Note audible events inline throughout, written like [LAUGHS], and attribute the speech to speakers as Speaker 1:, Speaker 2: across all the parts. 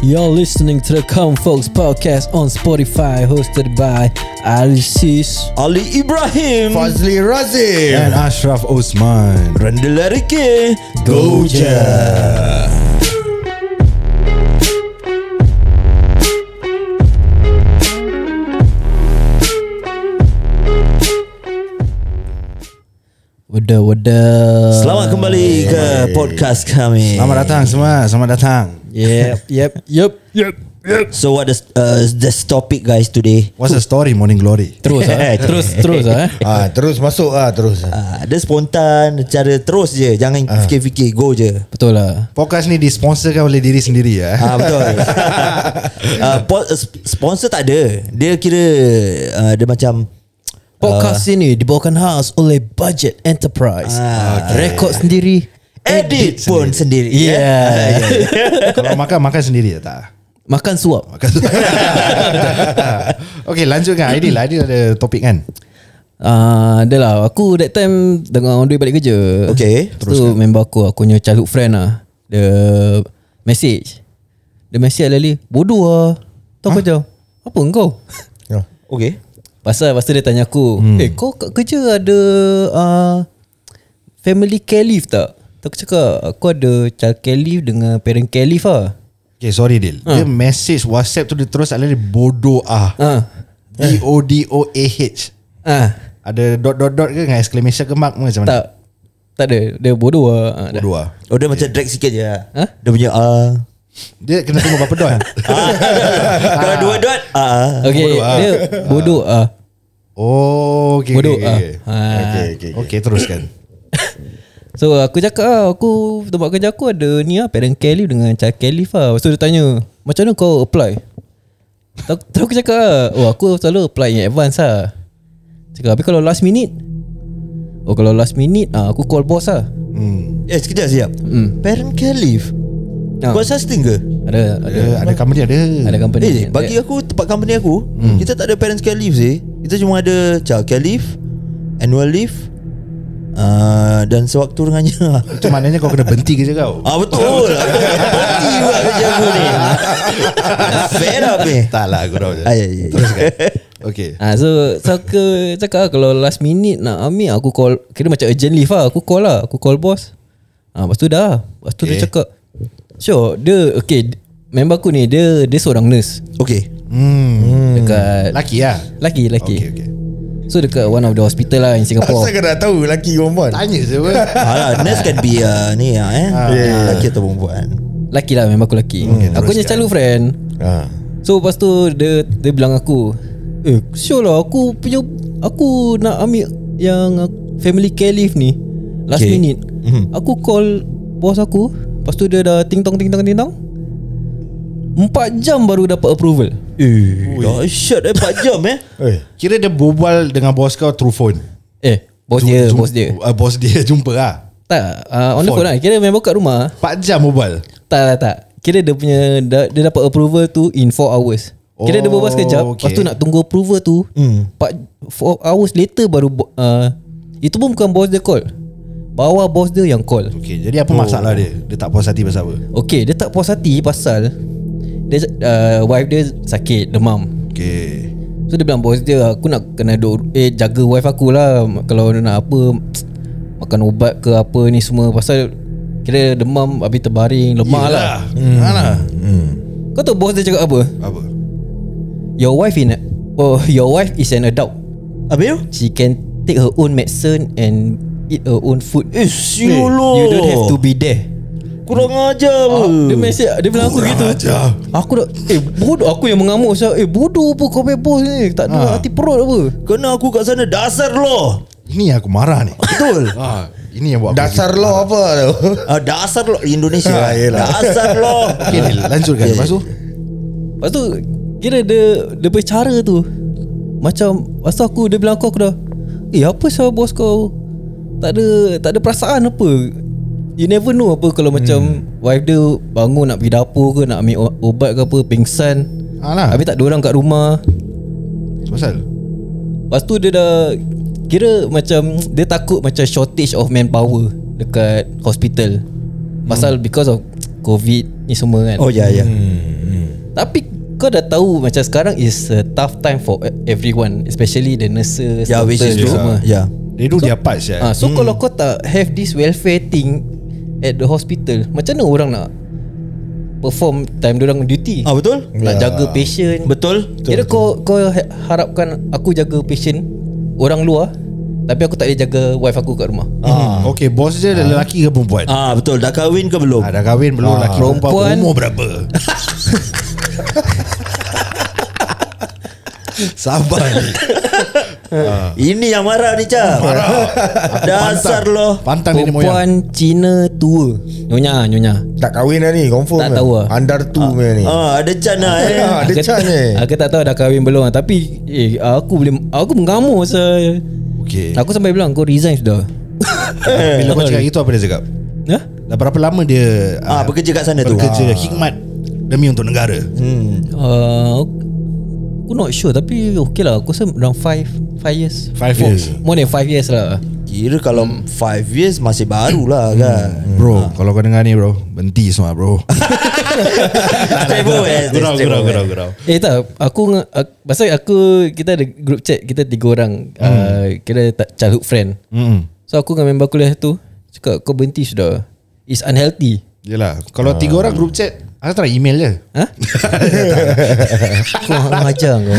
Speaker 1: You're listening to the Come Folks podcast on Spotify, hosted by Ali Sis.
Speaker 2: Ali Ibrahim
Speaker 3: Fazli
Speaker 4: And
Speaker 3: Razif
Speaker 4: Ashraf Osman
Speaker 2: Rendela Rike
Speaker 4: Go je
Speaker 1: What the, what the?
Speaker 2: Selamat kembali ke podcast kami
Speaker 4: Selamat datang semua Selamat datang
Speaker 1: Yep, yep, yep.
Speaker 2: So what is uh, this topic guys today
Speaker 4: What's the story Morning Glory
Speaker 1: Terus [LAUGHS] ah, terus, terus ah.
Speaker 3: ah, Terus masuk ah terus
Speaker 2: uh, Dia spontan Cara terus je Jangan fikir-fikir Go je
Speaker 1: Betul lah.
Speaker 4: Podcast ni disponsorkan oleh diri sendiri ya. [LAUGHS]
Speaker 2: Ah betul. uh, po- sp- sponsor tak ada. Dia kira uh, dia macam
Speaker 1: Podcast ini dibawakan khas oleh Budget Enterprise. Ah, Rekod sendiri,
Speaker 2: edit, pun sendiri.
Speaker 1: Yeah. [LAUGHS]
Speaker 4: [LAUGHS] Kalau makan makan sendiri ya, tak
Speaker 1: makan suap.
Speaker 4: Makan [LAUGHS] Okay lanjutkan Aidil
Speaker 3: [LAUGHS]
Speaker 4: Aidil ada topik kan
Speaker 1: Ah, uh, lah aku that time tengah on the way balik kerja.
Speaker 2: Okay,
Speaker 1: Terus tu member aku, aku punya childhood friend lah. Dia message. Dia message lali, bodoh ah. Tahu kau jauh. Apa engkau?
Speaker 3: oh.
Speaker 2: Okay.
Speaker 1: Pasal pasal dia tanya aku, hmm. "Eh, kau kat kerja ada uh, family care leave tak?" Tak aku cakap, aku ada child care leave dengan parent care leave lah.
Speaker 4: Okay sorry Dil Dia message whatsapp tu dia terus Aidil dia bodoh ah
Speaker 1: Ah.
Speaker 4: B-O-D-O-A-H
Speaker 1: Ah,
Speaker 4: Ada dot dot dot ke Dengan exclamation ke mark ke macam mana
Speaker 1: tak tak ada. Dia bodoh ah. Ah, dah.
Speaker 4: Bodoh ah
Speaker 2: Oh dia macam drag sikit je.
Speaker 1: Ha?
Speaker 2: Dia punya ah.
Speaker 4: Dia kena tunggu berapa
Speaker 3: [LAUGHS]
Speaker 4: dot
Speaker 2: Ah. Kalau dua dot ah.
Speaker 1: Okay, bodoh dia bodoh ah.
Speaker 4: Oh okay,
Speaker 1: Bodoh,
Speaker 4: okay, okay.
Speaker 1: ah. Ah.
Speaker 4: okay, okay, okay. okay teruskan
Speaker 1: So aku cakap lah Aku tempat kerja aku ada ni lah Parent care leave dengan child care leave lah Lepas tu dia tanya Macam mana kau apply Tak- Terus aku cakap lah Oh aku selalu apply in advance lah Cakap habis kalau last minute Oh kalau last minute ah, Aku call boss lah
Speaker 4: Hmm.
Speaker 2: Eh sekejap sekejap. Mm. Parent care leave.
Speaker 1: Ah.
Speaker 2: Buat such thing ke?
Speaker 1: Ada ada
Speaker 4: Ada, ada company ada.
Speaker 1: ada company
Speaker 2: Eh, bagi aku tempat company aku, kita tak ada parents care leave sih. Kita cuma ada child care leave, annual leave, uh, dan sewaktu dengannya. [LAUGHS]
Speaker 4: Itu maknanya kau kena berhenti kerja kau. [LAUGHS]
Speaker 2: Ah betul. Berhenti pula kerja aku ni. Fair up ni.
Speaker 4: Tak lah aku tahu je.
Speaker 2: Ah, ya, ya, ya.
Speaker 4: Teruskan. Okay.
Speaker 1: Ah, so so aku cakap lah, kalau last minute nak ambil aku call kira macam urgent leave lah aku call lah aku call boss. Ah, lepas tu dah. Lepas tu okay. dia
Speaker 4: Okay.
Speaker 1: cakap Sure dia okay member aku ni dia dia seorang nurse
Speaker 2: Okay.
Speaker 4: Hmm.
Speaker 1: dekat
Speaker 4: Laki lah.
Speaker 1: laki laki.
Speaker 4: Okay, okay.
Speaker 1: So dekat one of the hospital lah in
Speaker 3: Asal
Speaker 1: Singapore.
Speaker 3: kau dah tahu lelaki perempuan
Speaker 4: Tanya je pun.
Speaker 2: Alah, nurse can be uh, ni ah eh.
Speaker 3: yeah.
Speaker 2: Lelaki atau perempuan.
Speaker 1: Laki lah member aku laki.
Speaker 2: Hmm,
Speaker 1: aku punya calon friend.
Speaker 2: Ha.
Speaker 3: ah.
Speaker 1: So lepas tu dia dia bilang aku, "Eh, sure lah aku punya aku nak ambil yang uh, family care leave ni last okay.
Speaker 2: Okay. Hmm.
Speaker 1: minute." Mm-hmm. Aku call bos aku, lepas tu dia dah ting tong ting tong ting tong. 4 jam baru dapat approval.
Speaker 2: Ui, Dahsyat eh 4 jam eh.
Speaker 3: Eh.
Speaker 4: Kira dia berbual dengan bos kau through phone.
Speaker 1: [LAUGHS] Eh, bos
Speaker 4: Jum-
Speaker 1: dia,
Speaker 4: jum-
Speaker 1: bos dia.
Speaker 4: Uh, bos dia [LAUGHS] jumpa lah.
Speaker 1: Tak, uh, on the phone lah.
Speaker 4: Phone.
Speaker 1: Kira member kat rumah.
Speaker 4: 4 jam berbual.
Speaker 1: Tak tak tak Kira dia punya da- Dia dapat approval tu In 4 hours Kira dia
Speaker 4: Oh,
Speaker 1: berbual sekejap okay. Lepas tu
Speaker 4: okay. Hmm.
Speaker 1: nak tunggu approval tu 4 4 hours later baru bo- uh, Itu pun bukan bos dia call Bawah bos dia yang call
Speaker 4: Okay, jadi apa masalah dia? Dia tak puas hati pasal apa?
Speaker 1: Okay dia tak puas hati pasal dia, uh, Wife dia sakit Demam
Speaker 4: Okay.
Speaker 1: So dia bilang bos dia Aku nak kena duk, eh, Jaga wife aku lah Kalau dia nak apa Makan ubat ke apa ni semua Pasal Kira demam Habis terbaring Lemah lah
Speaker 4: Hmm. Alah.
Speaker 1: Kau tahu bos dia cakap apa?
Speaker 4: Apa?
Speaker 1: Your wife in a, oh [LAUGHS] your wife is an adult.
Speaker 2: Habis tu?
Speaker 1: She can take her own medicine and eat her own food.
Speaker 2: Eh, siolo.
Speaker 1: You don't have to be there.
Speaker 2: Kurang ajar apa?
Speaker 1: Ah, Dia message dia bilang aku gitu. Aja. Aku dah eh bodoh aku yang mengamuk saya. Eh bodoh apa kau punya bos ni? Tak ada hati perut apa?
Speaker 2: Kena aku kat sana dasar lo.
Speaker 4: Ini yang aku marah ni.
Speaker 2: Betul.
Speaker 4: ah, ini yang buat aku
Speaker 3: Dasar lo apa tu
Speaker 2: Ah, dasar lo Indonesia.
Speaker 3: Ah, yelah.
Speaker 2: dasar
Speaker 4: [LAUGHS]
Speaker 2: lo.
Speaker 4: Okay, Dil,
Speaker 2: [LAUGHS]
Speaker 4: lanjutkan.
Speaker 2: Okay.
Speaker 4: Lepas tu?
Speaker 1: Lepas tu kira dia dia bercara tu. Macam masa aku dia bilang aku aku dah Eh apa sah bos kau tak ada tak ada perasaan apa. You never know apa kalau macam wife dia bangun nak pergi dapur ke nak ambil o- ubat ke apa pingsan.
Speaker 4: Alah.
Speaker 1: Habis tak ada orang kat rumah.
Speaker 4: Ha, lah. Pasal?
Speaker 1: Lepas tu dia dah kira macam dia takut macam shortage of manpower dekat hospital. Pasal because of COVID ni semua kan.
Speaker 4: Hmm.
Speaker 2: Oh ya ya.
Speaker 1: Tapi kau dah tahu macam sekarang is a tough time for e- everyone, especially the nurses,
Speaker 2: Yeah Ya, which is
Speaker 1: doctors,
Speaker 2: true Ya.
Speaker 1: semua.
Speaker 2: Yeah
Speaker 4: They do so, their
Speaker 1: Ah,
Speaker 4: parts yeah.
Speaker 1: so hmm. kalau kau tak have this welfare thing at the hospital, macam mana orang nak perform time orang duty?
Speaker 2: Ah betul
Speaker 1: Nak
Speaker 3: Ya.
Speaker 1: jaga patient.
Speaker 2: Betul
Speaker 1: Kira kau kau ha- harapkan aku jaga patient orang luar tapi aku tak boleh jaga wife aku kat rumah.
Speaker 4: Ah. Okay bos dia ada lelaki ke perempuan
Speaker 2: Ah betul dah kahwin ke belum
Speaker 4: ah, Dah kahwin belum
Speaker 3: Ah.
Speaker 4: lelaki perempuan,
Speaker 1: Perempuan.
Speaker 4: Umur berapa
Speaker 3: Sabar ni
Speaker 2: Ini yang marah ni Cap [LAUGHS] Dasar lo
Speaker 4: Pantang nenek moyang
Speaker 1: Perempuan Cina tua. Nyonya, nyonya.
Speaker 3: Tak kahwin lah ni Confirm
Speaker 1: Tak
Speaker 3: lah.
Speaker 1: tahu lah.
Speaker 3: Under tu punya ni
Speaker 2: Ah ada can lah eh
Speaker 3: Ah, Ada
Speaker 1: Aku-
Speaker 3: can ni
Speaker 1: Aku tak tahu dah kahwin belum lah, tapi eh aku boleh aku mengamuk saya.
Speaker 4: Okay
Speaker 1: Aku sampai bilang kau resign sudah.
Speaker 4: Bila kau cakap itu apa dia cakap
Speaker 1: Hah?
Speaker 4: Dah berapa lama dia
Speaker 2: Ah bekerja kat sana tu Ah,
Speaker 4: Bekerja hikmat Demi untuk negara
Speaker 1: Uh, aku not sure tapi okay lah aku rasa around 5 5 years.
Speaker 4: Five
Speaker 1: More-
Speaker 4: years.
Speaker 1: More than 5 years lah.
Speaker 2: Kira kalau 5 years masih baru lah kan
Speaker 4: Hmm. Bro Kalau kau dengar ni bro Berhenti semua bro
Speaker 2: [LAUGHS] Stable eh
Speaker 4: Gurau gurau gurau gurau
Speaker 1: Eh tak Aku nge- ak- Pasal aku Kita ada group chat Kita tiga orang hmm. uh, Kira tak childhood friend
Speaker 4: Mm-mm.
Speaker 1: So aku dengan member kuliah tu Cakap kau berhenti sudah It's unhealthy
Speaker 4: Yelah Kalau
Speaker 3: Ah.
Speaker 4: tiga orang group chat Aku try email
Speaker 3: [LAUGHS]
Speaker 4: je
Speaker 1: Ha? Kau ajar kau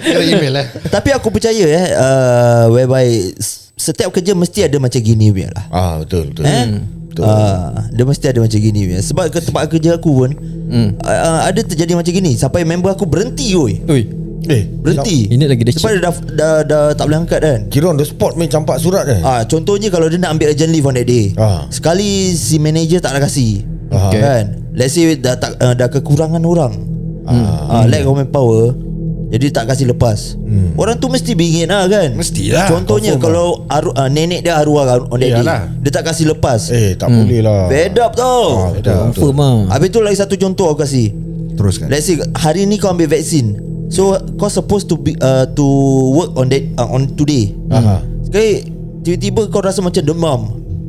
Speaker 4: Try email lah
Speaker 2: Tapi aku percaya eh uh, Whereby s- Setiap kerja mesti ada macam gini punya lah
Speaker 3: Ah betul betul.
Speaker 2: Eh? Ah, dia mesti ada macam gini punya. Sebab ke tempat kerja aku pun hmm. uh, Ada terjadi macam gini Sampai member aku berhenti oi.
Speaker 1: Ui
Speaker 3: Eh,
Speaker 2: Berhenti
Speaker 1: Ini lagi dia
Speaker 2: Sebab dia dah, dah, dah tak boleh angkat kan
Speaker 3: kira on the spot main campak surat eh.
Speaker 2: Ah, contohnya kalau dia nak ambil urgent leave on that day.
Speaker 3: Ah.
Speaker 2: Sekali si manager tak nak kasi.
Speaker 3: Okay.
Speaker 2: Kan? Let's say dah tak uh, dah kekurangan orang. Ah, lack of manpower. Jadi tak kasi lepas. Orang tu mesti bingit lah kan.
Speaker 4: Mestilah,
Speaker 2: Contohnya kalau aru, uh, nenek dia arwah on that day.
Speaker 4: Iyalah.
Speaker 2: Dia tak kasi lepas. Eh.
Speaker 3: Eh, tak
Speaker 1: Hmm.
Speaker 3: boleh lah.
Speaker 2: Fed up tau. Hmm.
Speaker 3: Ah, beda.
Speaker 1: Confirm lah
Speaker 2: Habis tu lagi satu contoh aku kasi.
Speaker 4: Teruskan
Speaker 2: Let's say hari ni kau ambil vaksin. So kau supposed to be uh, to work on that uh, on today.
Speaker 3: Aha.
Speaker 2: Sekali tiba-tiba kau rasa macam demam.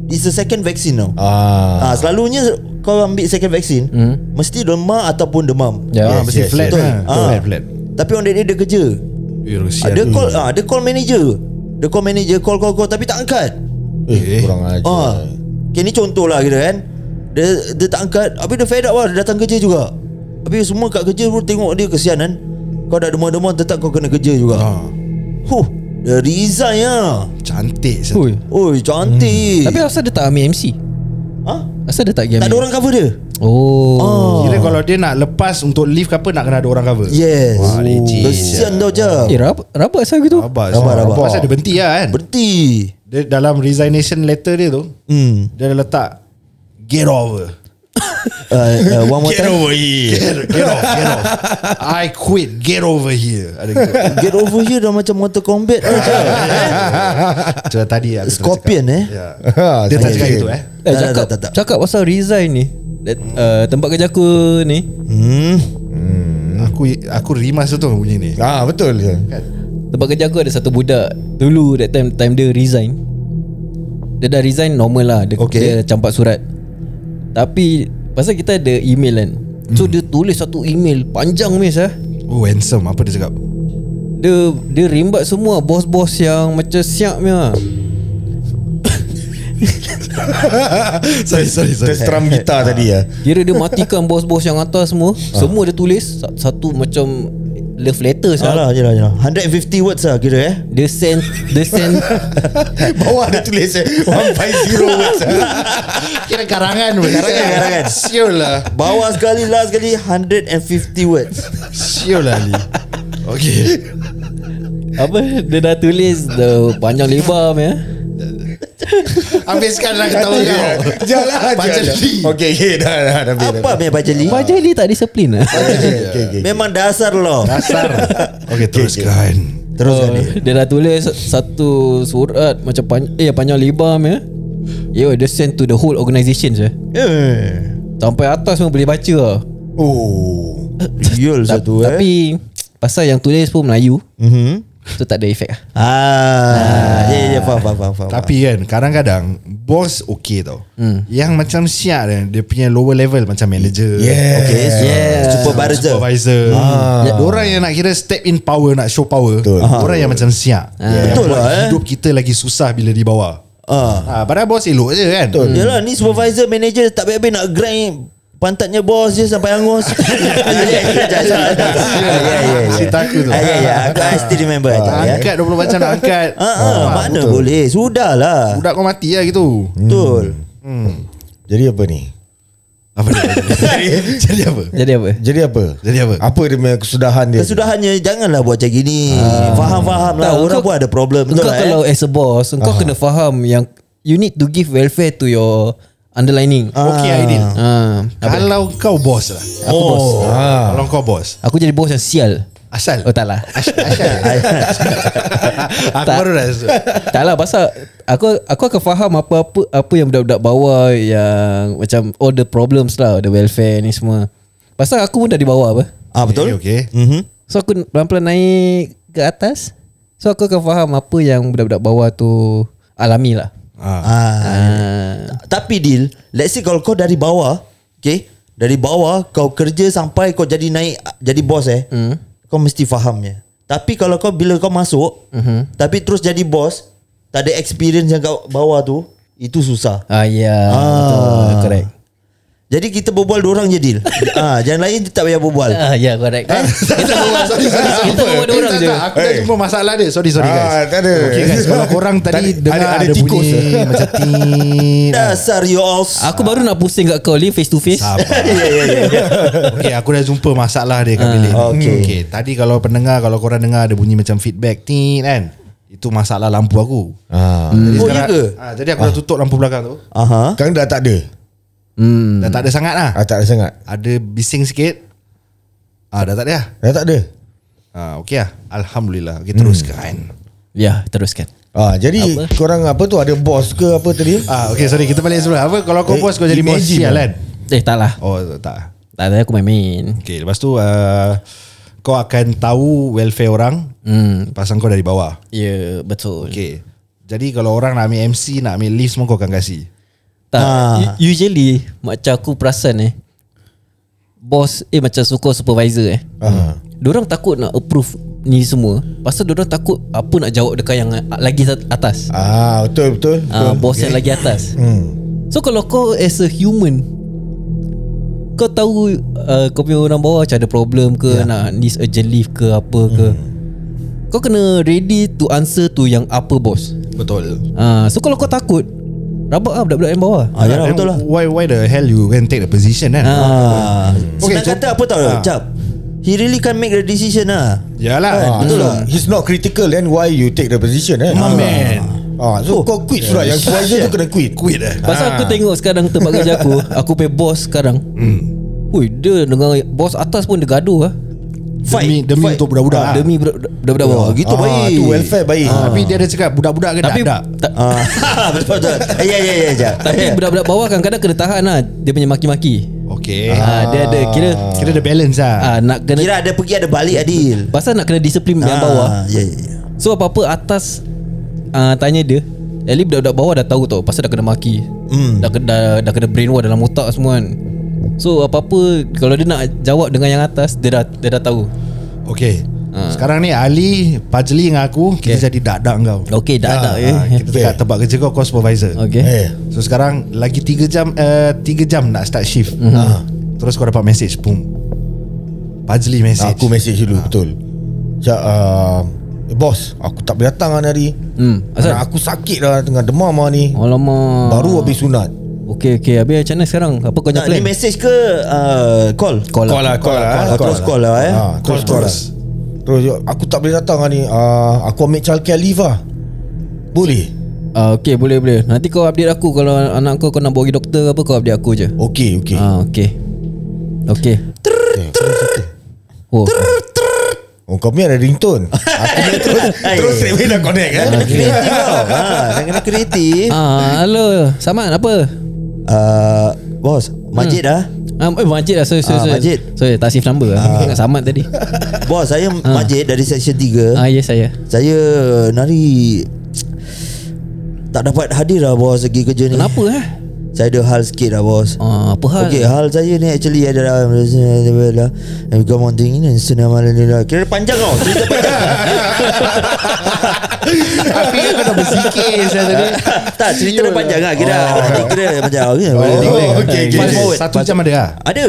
Speaker 2: It's the second vaccine tau.
Speaker 3: Ah.
Speaker 2: Ah. selalunya kau ambil second vaksin hmm. mesti demam ataupun demam.
Speaker 1: Ya
Speaker 4: Ah,
Speaker 3: Yes,
Speaker 4: Mesti
Speaker 3: yes,
Speaker 4: flat
Speaker 3: yes.
Speaker 4: lah
Speaker 2: Ah.
Speaker 4: Flat flat
Speaker 2: Tapi on that day dia kerja.
Speaker 4: Eh,
Speaker 2: Ah,
Speaker 4: Rusia
Speaker 2: dia call ah dia call manager. Dia call manager call call call tapi tak angkat.
Speaker 3: Eh, kurang aja.
Speaker 2: Ah. Okay ni contoh lah kira kan. Dia dia tak angkat. Habis dia fed up lah dia datang kerja juga. Habis semua kat kerja pun tengok dia kesian kan. Kau dah demam-demam tetap kau kena kerja juga.
Speaker 4: Ah.
Speaker 2: Huh, dia resign lah.
Speaker 4: Cantik satu.
Speaker 1: Ui
Speaker 2: Oi, cantik.
Speaker 1: Hmm. Tapi asal dia tak ambil MC
Speaker 2: ha?
Speaker 1: Asal dia tak pergi
Speaker 2: Eh. Tak ada
Speaker 1: ambil
Speaker 2: orang cover dia.
Speaker 1: Oh
Speaker 3: Ah.
Speaker 4: Kira kalau dia nak lepas Untuk leave ke apa Nak kena ada orang cover
Speaker 2: Yes. Oh,
Speaker 4: Wah,
Speaker 3: Oh,
Speaker 4: licin.
Speaker 2: Kesian tau je.
Speaker 1: Eh rabak Rabak asal gitu
Speaker 4: Rabak
Speaker 2: Rabak,
Speaker 4: Rabak
Speaker 2: rabak.
Speaker 4: Pasal dia berhenti lah kan
Speaker 2: Berhenti.
Speaker 4: Dia dalam resignation letter dia tu
Speaker 2: Hmm.
Speaker 4: Dia ada letak Get over
Speaker 2: Uh, uh, one more time.
Speaker 3: over here.
Speaker 4: Get, get off Get
Speaker 3: [LAUGHS]
Speaker 4: off I quit Get over here Ada gitu
Speaker 2: Get over here dah macam Mortal Kombat lah je.
Speaker 4: Eh, Macam tadi aku tengah
Speaker 2: Scorpion,
Speaker 4: cakap.
Speaker 2: eh?
Speaker 4: Ya.
Speaker 3: [LAUGHS] Ah,
Speaker 4: Dia tak
Speaker 3: sakit.
Speaker 4: cakap gitu eh
Speaker 1: Eh,
Speaker 2: Tak, tak,
Speaker 1: cakap,
Speaker 2: tak, tak.
Speaker 1: cakap pasal resign ni That, uh, Tempat kerja aku ni
Speaker 2: Hmm.
Speaker 4: Aku aku rimas tu bunyi ni
Speaker 3: Ah, betul je.
Speaker 1: Tempat kerja aku ada satu budak Dulu that time Time dia resign Dia dah resign normal lah Dia,
Speaker 2: Okay.
Speaker 1: okay. dia campak surat Tapi Pasal kita ada email kan
Speaker 2: Hmm.
Speaker 1: So dia tulis satu email Panjang miss ah.
Speaker 4: Oh handsome Apa dia cakap
Speaker 1: Dia Dia rimbat semua Bos-bos yang Macam siap ah. punya
Speaker 4: Sorry sorry
Speaker 3: Dia [LAUGHS] strum gitar tadi ya.
Speaker 1: Kira dia matikan bos-bos yang atas semua Semua dia tulis sa- Satu macam Love letter sah.
Speaker 2: Salah je lah. je lah. 150 words lah kira eh.
Speaker 1: Dia send Dia send
Speaker 3: Bawah dia tulis eh 150 words.
Speaker 4: [LAUGHS] Kira karangan pun
Speaker 2: Karangan, karangan.
Speaker 4: Siul lah
Speaker 2: Bawah sekali Last sekali 150 words
Speaker 4: Siul lah Ali Okay
Speaker 1: [LAUGHS] Apa Dia dah tulis the, Panjang lebar punya
Speaker 4: Habiskan lah ketawa
Speaker 3: [LAUGHS]
Speaker 4: kau
Speaker 3: Jalan
Speaker 4: Panjang
Speaker 3: aja.
Speaker 4: li.
Speaker 3: Okey, okey dah dah dah. dah,
Speaker 2: Apa
Speaker 3: dah.
Speaker 2: punya Bajali
Speaker 1: Baca dia tak disiplin lah
Speaker 3: Okey, okey, okey.
Speaker 2: Memang dasar lo
Speaker 4: Dasar Okay teruskan
Speaker 2: Terus
Speaker 1: Oh, dia dah tulis satu surat macam pan eh panjang lebar ya. Yo, dia send to the whole organisation je.
Speaker 2: Eh
Speaker 1: Sampai atas pun boleh baca lah.
Speaker 3: Oh.
Speaker 2: Real
Speaker 1: Ta-
Speaker 2: satu eh
Speaker 1: Tapi pasal yang tulis pun Melayu.
Speaker 2: Mhm.
Speaker 1: Tu tak ada efek lah
Speaker 2: Ah, ya ya ya, faham faham faham. faham. Hmm.
Speaker 4: Tapi kan kadang-kadang Bos okay tau Yang macam siap kan Dia punya lower level Macam manager
Speaker 3: Yes. Hmm.
Speaker 2: okay, so,
Speaker 1: Yeah.
Speaker 2: supervisor.
Speaker 4: Supervisor ah. Orang yang nak kira Step in power Nak show power
Speaker 3: Betul.
Speaker 4: Orang yang macam siap Yang
Speaker 2: Betul
Speaker 4: buat
Speaker 2: lah, eh.
Speaker 4: Hidup kita lagi susah Bila di bawah
Speaker 2: Ah.
Speaker 4: ah, Padahal bos elok je kan [LAUGHS] Betul
Speaker 2: Yalah ni supervisor manager tak baik-baik nak grind pantatnya bos je sampai hangus.
Speaker 4: Ya, Cerita aku tu.
Speaker 2: Ah, Ya ya aku I still remember. I
Speaker 4: Nak
Speaker 2: tak, ya.
Speaker 4: Ah, angkat 20 macam nak angkat
Speaker 2: Ah, ah, Hmm. mana boleh Sudahlah
Speaker 4: Budak kau mati lah gitu
Speaker 2: Betul
Speaker 3: Hmm. Jadi apa ni?
Speaker 4: Apa dia? jadi,
Speaker 2: [LAUGHS]
Speaker 4: jadi apa?
Speaker 1: Jadi apa
Speaker 3: Jadi apa?
Speaker 4: Jadi apa?
Speaker 2: Ah.
Speaker 3: Apa dia punya kesudahan dia?
Speaker 2: Kesudahannya Janganlah buat macam gini
Speaker 4: Ah.
Speaker 2: Faham-faham lah
Speaker 1: Tak,
Speaker 2: Orang
Speaker 1: kau-
Speaker 2: pun ada problem Betul
Speaker 1: Engkau
Speaker 2: lah
Speaker 1: kalau
Speaker 2: eh
Speaker 1: as a boss Engkau kena faham yang You need to give welfare to your Underlining ah.
Speaker 4: Okay Aidil Kalau kau bos lah
Speaker 1: Aku bos
Speaker 4: ah. Kalau kau bos
Speaker 1: Aku jadi bos yang sial
Speaker 4: Asal
Speaker 1: Oh tak lah
Speaker 4: Asal,
Speaker 1: [LAUGHS]
Speaker 4: asal. [LAUGHS] Aku
Speaker 1: Tak.
Speaker 4: baru rasa
Speaker 1: Tak lah pasal Aku aku akan faham apa-apa Apa yang budak-budak bawah Yang macam All the problems lah The welfare ni semua Pasal aku pun dah di bawah apa
Speaker 2: Ah betul
Speaker 4: Okay, okay.
Speaker 2: Mhm.
Speaker 1: So aku pelan-pelan naik ke atas So aku akan faham apa yang budak-budak bawah tu Alami lah
Speaker 4: Ah.
Speaker 2: Ah,
Speaker 1: ah.
Speaker 2: Tapi deal Let's say kalau kau dari bawah Okay Dari bawah Kau kerja sampai kau jadi naik Jadi bos eh
Speaker 1: Hmm.
Speaker 2: mm. Kau mesti fahamnya Tapi kalau kau Bila kau masuk mm-hmm.
Speaker 1: Mhm.
Speaker 2: Tapi terus jadi bos Tak ada experience yang kau bawah tu Itu susah
Speaker 1: Ah ya yeah, ah. Correct
Speaker 2: Jadi kita berbual orang je
Speaker 1: [LAUGHS]
Speaker 2: deal ah, Yang lain tak payah berbual
Speaker 1: Ah ya yeah, correct Kita bawa Kita bawa dua orang
Speaker 4: Eh, tak,
Speaker 1: je
Speaker 4: tak, Aku dah
Speaker 3: Hey.
Speaker 4: jumpa masalah dia Sorry sorry
Speaker 3: Ah,
Speaker 4: guys
Speaker 3: tak ada.
Speaker 4: Okay guys Kalau korang tadi
Speaker 3: Tadi-
Speaker 4: Dengar
Speaker 3: ada-
Speaker 4: ada,
Speaker 3: ada tikus.
Speaker 4: bunyi Macam tin
Speaker 3: [LAUGHS]
Speaker 2: Dasar you all
Speaker 1: Aku baru nak pusing kat kau Lee face to face
Speaker 3: Ya,
Speaker 4: Sabar Okay aku dah jumpa masalah dia
Speaker 1: Ah.
Speaker 4: kat bilik
Speaker 3: Ah,
Speaker 2: okay.
Speaker 4: okay Tadi kalau pendengar Kalau korang dengar Ada bunyi macam feedback tin kan Itu masalah lampu aku
Speaker 3: Ah.
Speaker 4: Jadi
Speaker 2: Oh, iya ke?
Speaker 4: ah, Jadi aku dah tutup lampu belakang tu
Speaker 2: Aha.
Speaker 3: Sekarang dah tak ada.
Speaker 1: hmm.
Speaker 4: Dah tak ada sangat lah
Speaker 3: Ah, tak ada sangat.
Speaker 4: Ada bising sikit Ah dah tak ada lah
Speaker 3: Dah tak ada.
Speaker 4: ah, Okay lah Alhamdulillah Okay teruskan
Speaker 1: Ya teruskan
Speaker 3: Ah, jadi apa? korang apa tu ada bos ke apa tadi?
Speaker 4: Ah, okay sorry kita balik sebelah Apa kalau kau
Speaker 3: Hmm. Eh,
Speaker 4: bos kau jadi bos
Speaker 3: imagine
Speaker 4: sial
Speaker 3: lah.
Speaker 4: kan
Speaker 1: Eh tak lah
Speaker 4: Oh tak
Speaker 1: Tak ada aku main-main
Speaker 4: Okay lepas tu uh, Kau akan tahu welfare orang
Speaker 1: hmm.
Speaker 4: Pasang kau dari bawah
Speaker 1: Ya yeah, betul
Speaker 4: Okay Jadi kalau orang nak ambil MC Nak ambil lift semua kau akan kasih
Speaker 1: Tak u- Usually Macam aku perasan eh Bos Eh macam suka supervisor eh
Speaker 3: Ah.
Speaker 1: Diorang takut nak approve Ni semua Pasal diorang takut Apa nak jawab dekat yang ah, Lagi at- atas
Speaker 3: Ah, betul betul.
Speaker 1: ah,
Speaker 3: betul.
Speaker 1: Bos yang lagi atas
Speaker 3: Hmm.
Speaker 1: So kalau kau as a human Kau tahu uh, Kau punya orang bawah Macam ada problem ke
Speaker 2: Ya.
Speaker 1: yeah. Nak needs urgent leave ke Apa ke
Speaker 2: Hmm.
Speaker 1: Kau kena ready to answer to Yang apa bos
Speaker 4: Betul
Speaker 1: uh, So kalau kau takut Rabak lah budak-budak yang bawah
Speaker 2: ah, yalah, Betul lah
Speaker 4: Why why the hell you can take the position kan ah.
Speaker 2: ah.
Speaker 4: Okay,
Speaker 2: Senang
Speaker 4: so-
Speaker 2: kata apa tau
Speaker 4: Ah.
Speaker 2: Cap He really can't make the decision lah
Speaker 4: Yalah
Speaker 3: Ah,
Speaker 4: Betul
Speaker 3: betul lah. He's not critical then why you take the position eh?
Speaker 4: My
Speaker 3: Ah.
Speaker 4: man.
Speaker 3: Ah, so kau quit surat yang supervisor tu kena quit.
Speaker 4: Quit eh
Speaker 1: Pasal Oh. aku tengok sekarang tempat kerja
Speaker 2: [LAUGHS]
Speaker 1: aku Aku pay bos sekarang hmm. Hui dia dengan bos atas pun dia gaduh lah
Speaker 2: Fight,
Speaker 4: Demi, demi
Speaker 2: fight.
Speaker 4: untuk budak-budak
Speaker 1: ah.
Speaker 4: ah,
Speaker 1: Demi budak- budak-budak bawah
Speaker 2: Oh, gitu
Speaker 3: ah,
Speaker 2: baik
Speaker 3: Tu welfare baik. Ah.
Speaker 4: Tapi dia ada cakap Budak-budak ke
Speaker 1: Tapi
Speaker 4: tak
Speaker 1: tak,
Speaker 2: Ah, [LAUGHS] betul betul. Ya ya ya jap.
Speaker 1: Tapi
Speaker 2: [LAUGHS]
Speaker 1: budak-budak bawah kadang-kadang kena tahan lah Dia punya maki-maki
Speaker 4: Okay
Speaker 1: ah. Dia ada kira
Speaker 4: Kira ada balance lah
Speaker 1: ah, Nak kena
Speaker 2: Kira ada pergi ada balik Adil.
Speaker 1: Pasal nak kena disiplin
Speaker 3: Ah.
Speaker 1: yang bawah
Speaker 2: Ya ya ya.
Speaker 1: So apa-apa atas uh, Tanya dia At least budak-budak bawah dah tahu tau Pasal dah kena maki
Speaker 3: Hmm.
Speaker 1: mm. dah, kena- dah, dah kena brainwash dalam otak semua kan So apa-apa Kalau dia nak jawab dengan yang atas Dia dah, dia dah tahu
Speaker 4: Okay
Speaker 1: Ah.
Speaker 4: Sekarang ni Ali Pajli dengan aku Kita jadi dak-dak kau
Speaker 1: Okay dah ada eh.
Speaker 4: Ah, Kita dekat tempat kerja kau Kau supervisor
Speaker 1: Okay
Speaker 3: Eh.
Speaker 4: So sekarang Lagi 3 jam uh, 3 jam nak start shift
Speaker 1: Mhm.
Speaker 4: Ah. Terus kau dapat message Boom Pajli message
Speaker 3: Aku
Speaker 1: Ah.
Speaker 3: message dulu betul. Cak ah, eh, bos, aku tak boleh datang lah hari.
Speaker 1: hmm. Asal Ah.
Speaker 3: Anak aku sakit lah tengah demam lah ni.
Speaker 1: Alamak
Speaker 3: Baru habis sunat.
Speaker 1: Okay okay Habis macam mana sekarang Apa kau punya
Speaker 2: Nak ni
Speaker 1: plan
Speaker 2: message ke ah, call?
Speaker 1: Call lah
Speaker 3: lah, call
Speaker 2: Ah,
Speaker 3: lah.
Speaker 2: Terus call lah eh.
Speaker 3: Ah, terus call lah. Terus dia, aku tak boleh datang lah ni. Ah, aku ambil childcare leave lah. Boleh?
Speaker 1: Ah, Okay boleh boleh Nanti kau update aku Kalau anak kau kau nak bawa pergi doktor ke apa Kau update aku je
Speaker 3: Okey, okey.
Speaker 1: ah, Okay Okay Oh
Speaker 3: Oh, kau punya ada [LAUGHS] ringtone. aku punya terus terus straight away dah connect eh.
Speaker 2: Kena
Speaker 4: Ah,
Speaker 2: kreatif tau. Ha, kena kreatif.
Speaker 1: Ah, Hello Saman apa
Speaker 2: Ah, bos, majid dah.
Speaker 1: Ah, eh, Majid lah. Sorry, sorry,
Speaker 2: Ah,
Speaker 1: sorry.
Speaker 2: Majid. Ah. Eh?
Speaker 1: Sorry, tak shift number lah. Ingat Samad tadi.
Speaker 2: Bos saya Majid dari section 3
Speaker 1: Ah, yes, saya.
Speaker 2: Saya nari Tak dapat hadir lah bos Pergi kerja ni
Speaker 1: Kenapa eh?
Speaker 2: Saya ada hal sikit lah bos
Speaker 1: Ah, apa hal?
Speaker 2: Okay hal saya ni actually adalah Bukan mountain ini Senamalalala lah. Kira panjang tau Cerita [LAUGHS] panjang
Speaker 4: Tapi kan kau dah bersikir Saya tadi
Speaker 2: Tak cerita dia panjang lah Kira Kira macam Okay,
Speaker 4: Oh,
Speaker 2: Oh,
Speaker 3: okay, okay.
Speaker 2: Fast forward
Speaker 4: Satu jam ada lah
Speaker 2: Ada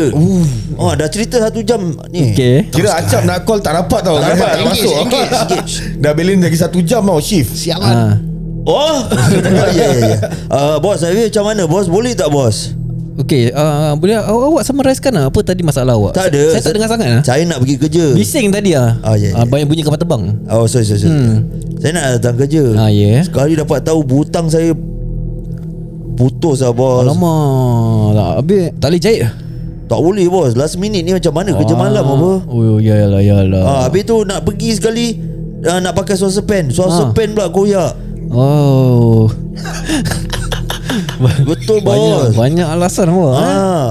Speaker 2: Oh dah cerita satu jam ni
Speaker 1: Okay.
Speaker 3: Kira acap nak call tak dapat tau Tak dapat
Speaker 4: Engage,
Speaker 3: masuk [LAUGHS]
Speaker 4: engage,
Speaker 3: Dah belin lagi satu jam tau shift
Speaker 4: Sialan
Speaker 1: Ah.
Speaker 2: Oh [LAUGHS] Ya ya ya Ah, Bos saya macam mana Bos boleh tak bos
Speaker 1: Okay, uh, boleh awak, awak summarizekan lah apa tadi masalah awak?
Speaker 2: Tak ada
Speaker 1: Saya, saya tak dengar sangat lah.
Speaker 2: Saya nak pergi kerja
Speaker 1: Bising tadi lah.
Speaker 2: Ah, ya,
Speaker 1: Ah,
Speaker 2: ya.
Speaker 1: banyak bunyi kapal terbang.
Speaker 2: Oh sorry sorry, sorry.
Speaker 1: Hmm.
Speaker 2: Saya nak datang kerja
Speaker 1: Ah, ya.
Speaker 2: Sekali dapat tahu Butang saya Putus lah bos
Speaker 1: Alamak. Tak, lah. habis tak boleh jahit.
Speaker 2: Tak boleh bos Last minute ni macam mana
Speaker 1: Ah.
Speaker 2: Kerja malam apa
Speaker 1: Oh, yalah, yalah.
Speaker 2: ah, Habis tu nak pergi sekali ah, Nak pakai suasa pen
Speaker 1: Ah.
Speaker 2: Suasa pen pula
Speaker 1: [LAUGHS]
Speaker 2: koyak
Speaker 1: Oh.
Speaker 2: Betul
Speaker 1: Banyak,
Speaker 2: bos
Speaker 1: banyak alasan awak. Ha?
Speaker 2: ah.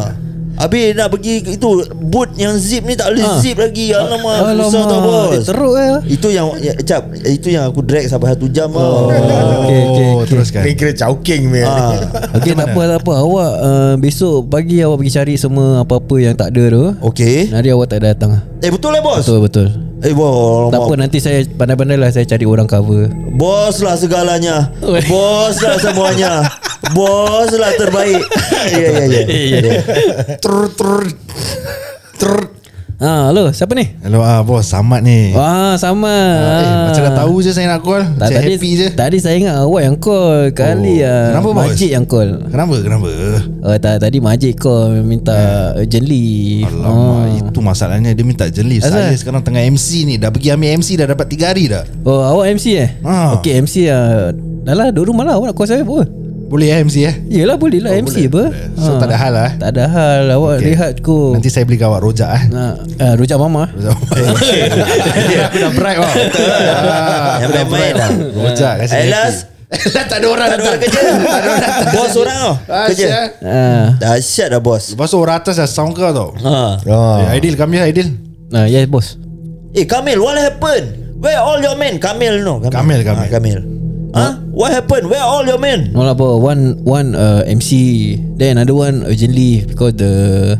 Speaker 2: Habis nak pergi Itu Boot yang zip ni Tak boleh
Speaker 1: Ah.
Speaker 2: zip lagi Alamak, Susah tau
Speaker 1: eh,
Speaker 2: bos
Speaker 1: Teruk eh.
Speaker 2: Itu yang ya, Cap Itu yang aku drag Sampai satu jam oh.
Speaker 1: Okay, okay,
Speaker 4: Oh
Speaker 1: okay.
Speaker 4: teruskan
Speaker 3: Ni kira chowking man
Speaker 2: ah.
Speaker 1: Okay tak apa tak apa Awak uh, besok pagi awak pergi cari semua apa-apa yang tak ada tu
Speaker 2: Okay
Speaker 1: Nari awak tak datang
Speaker 2: Eh betul lah bos
Speaker 1: Betul betul
Speaker 2: Eh bos
Speaker 1: Tak apa nanti saya pandai-pandai lah saya cari orang cover
Speaker 2: Bos lah segalanya
Speaker 1: Oi.
Speaker 2: Bos lah semuanya Bos lah
Speaker 1: [LAUGHS]
Speaker 2: terbaik Ya ya ya
Speaker 4: Trr, trr, trr.
Speaker 1: Ha hello siapa ni?
Speaker 4: Hello ah bos Samad ni
Speaker 1: Wah sama
Speaker 4: Eh macam dah tahu je saya nak call
Speaker 1: Ah. tak,
Speaker 4: Saya
Speaker 1: tadi,
Speaker 4: happy je
Speaker 1: Tadi saya ingat awak yang call Kali
Speaker 4: Oh.
Speaker 1: ah.
Speaker 4: Kenapa, bos?
Speaker 1: Majid yang call
Speaker 4: Kenapa kenapa
Speaker 1: Oh tak tadi Majid call Minta urgent leave
Speaker 4: Eh.
Speaker 1: Oh.
Speaker 4: Alamak
Speaker 2: Ah.
Speaker 4: itu masalahnya Dia minta jelis
Speaker 1: Asal?
Speaker 4: Saya sekarang tengah MC ni Dah pergi ambil MC dah dapat 3 hari dah
Speaker 1: Oh awak MC eh?
Speaker 4: Ha.
Speaker 1: Okay MC lah Dah lah duduk rumah lah Awak nak call saya apa?
Speaker 4: Boleh eh MC eh
Speaker 1: Yelah boleh lah oh, MC boleh. apa
Speaker 4: So
Speaker 2: Ah.
Speaker 4: tak ada hal lah eh?
Speaker 1: Tak ada hal Awak okay.
Speaker 4: Okay.
Speaker 1: rehat
Speaker 2: Oh.
Speaker 1: kot
Speaker 4: Nanti saya beli kawat rojak eh
Speaker 1: Nah, uh, rujak mama.
Speaker 2: Eh.
Speaker 4: [LAUGHS] Aku dah bright tau Ah,
Speaker 2: Yang
Speaker 4: Aku dah
Speaker 2: main-main
Speaker 4: bright tau Rojak kasi
Speaker 2: Elas
Speaker 4: Elas [LAUGHS] tak ada orang
Speaker 2: Tak ada orang kerja Bos orang tau Kerja
Speaker 4: Kerja
Speaker 1: Ah,
Speaker 2: Dahsyat dah bos
Speaker 4: Lepas tu orang atas dah sound kau tau
Speaker 2: ha.
Speaker 4: Eh,
Speaker 3: Ah.
Speaker 4: Aidil come here Aidil
Speaker 1: nah, Ah, yes bos.
Speaker 2: Eh Kamil what happened Where all your men Kamil no
Speaker 4: Kamil, Kamil.
Speaker 2: Ah, Kamil. Huh? What happened Where all your men
Speaker 1: No lah, bro. One one uh, MC, then another one urgently because the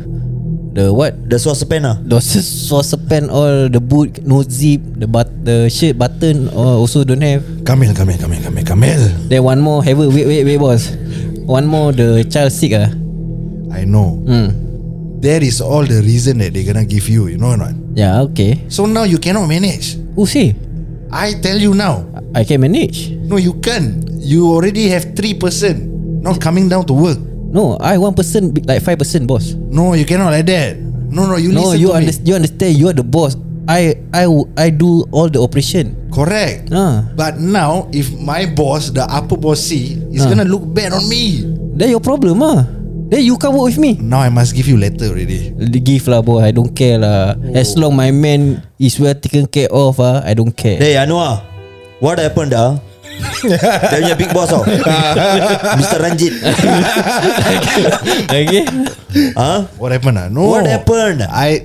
Speaker 1: the what?
Speaker 2: The sauce pen lah
Speaker 1: The s- saucepan all the boot no zip the but the shirt button all also don't have.
Speaker 4: Kamil Kamil Kamil Kamil Kamil
Speaker 1: Then one more have a wait wait wait boss. One more the child sick ah.
Speaker 4: I know
Speaker 1: Hmm.
Speaker 4: That is all the reason that they gonna give you You know or not
Speaker 1: Yeah okay.
Speaker 4: So now you cannot manage
Speaker 1: Oh see,
Speaker 4: I tell you now
Speaker 1: I can manage.
Speaker 4: No you can't You already have three person Not coming down to work
Speaker 1: No, I one person be- like five person boss.
Speaker 4: No you cannot like that No no you
Speaker 1: no,
Speaker 4: listen
Speaker 1: you
Speaker 4: to me
Speaker 1: understand. You understand. You are the boss. I I w- I do all the operation.
Speaker 4: Correct
Speaker 1: Ah,
Speaker 4: But now if my boss the upper boss see is
Speaker 1: Ah.
Speaker 4: gonna look bad on me.
Speaker 1: that your problem ah. Then you come work with me.
Speaker 4: Now I must give you letter already.
Speaker 1: Give lah boy. I don't care lah. As long my man is well taken care of ah, I don't care.
Speaker 2: Hey Anwar What happened
Speaker 4: [LAUGHS]
Speaker 2: dah Dia punya big boss tau Mr. Ranjit
Speaker 1: okay.
Speaker 2: Huh?
Speaker 4: What happened? Ah? No.
Speaker 2: What happened?
Speaker 4: I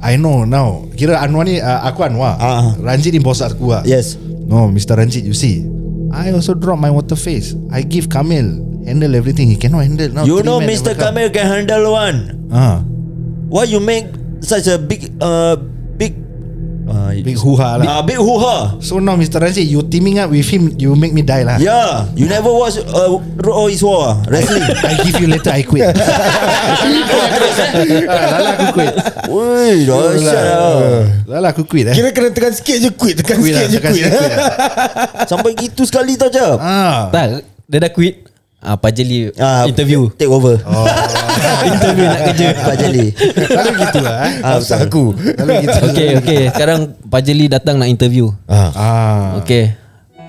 Speaker 4: I know now. Kira Anwar ni uh, aku Anwar.
Speaker 2: Ah.
Speaker 4: Ranjit ni boss aku ah.
Speaker 2: Yes
Speaker 4: No, Mr. Ranjit, you see. I also drop my water face. I give Kamil handle everything. He cannot handle now.
Speaker 2: You
Speaker 4: three
Speaker 2: know
Speaker 4: men
Speaker 2: Mr.
Speaker 4: never come.
Speaker 2: Kamil can handle one
Speaker 4: Ah.
Speaker 2: Why you make such a big uh big uh,
Speaker 4: Big hoo-ha lah.
Speaker 2: uh, big hoo-ha?
Speaker 4: So now Mr. Ranjit, you teaming up with him, you make me die lah.
Speaker 2: Yeah, you never watch uh, Road is War
Speaker 4: [LAUGHS]
Speaker 2: wrestling.
Speaker 4: I give you letter, I quit. Lala aku quit.
Speaker 2: Ui, dahsyat lah.
Speaker 4: Lala aku quit eh.
Speaker 3: Kira kena tekan sikit je quit Tekan
Speaker 4: Quit
Speaker 3: sikit
Speaker 4: lah,
Speaker 3: je
Speaker 4: tekan
Speaker 3: quit
Speaker 4: sikit quit lah.
Speaker 2: Sampai gitu sekali tau je.
Speaker 4: Ah.
Speaker 1: [LAUGHS] Tak, dia dah quit. Ah, Pajali
Speaker 2: Ah,
Speaker 1: interview.
Speaker 2: Take over. [LAUGHS]
Speaker 1: interview nak kerja.
Speaker 2: Pak Jeli.
Speaker 4: Lalu gitu lah eh.
Speaker 2: Ah, betul.
Speaker 3: Aku
Speaker 4: Lalu gitu.
Speaker 1: [LAUGHS] okay, okay. Sekarang Pajali datang nak interview.
Speaker 4: Ah.
Speaker 1: Okay.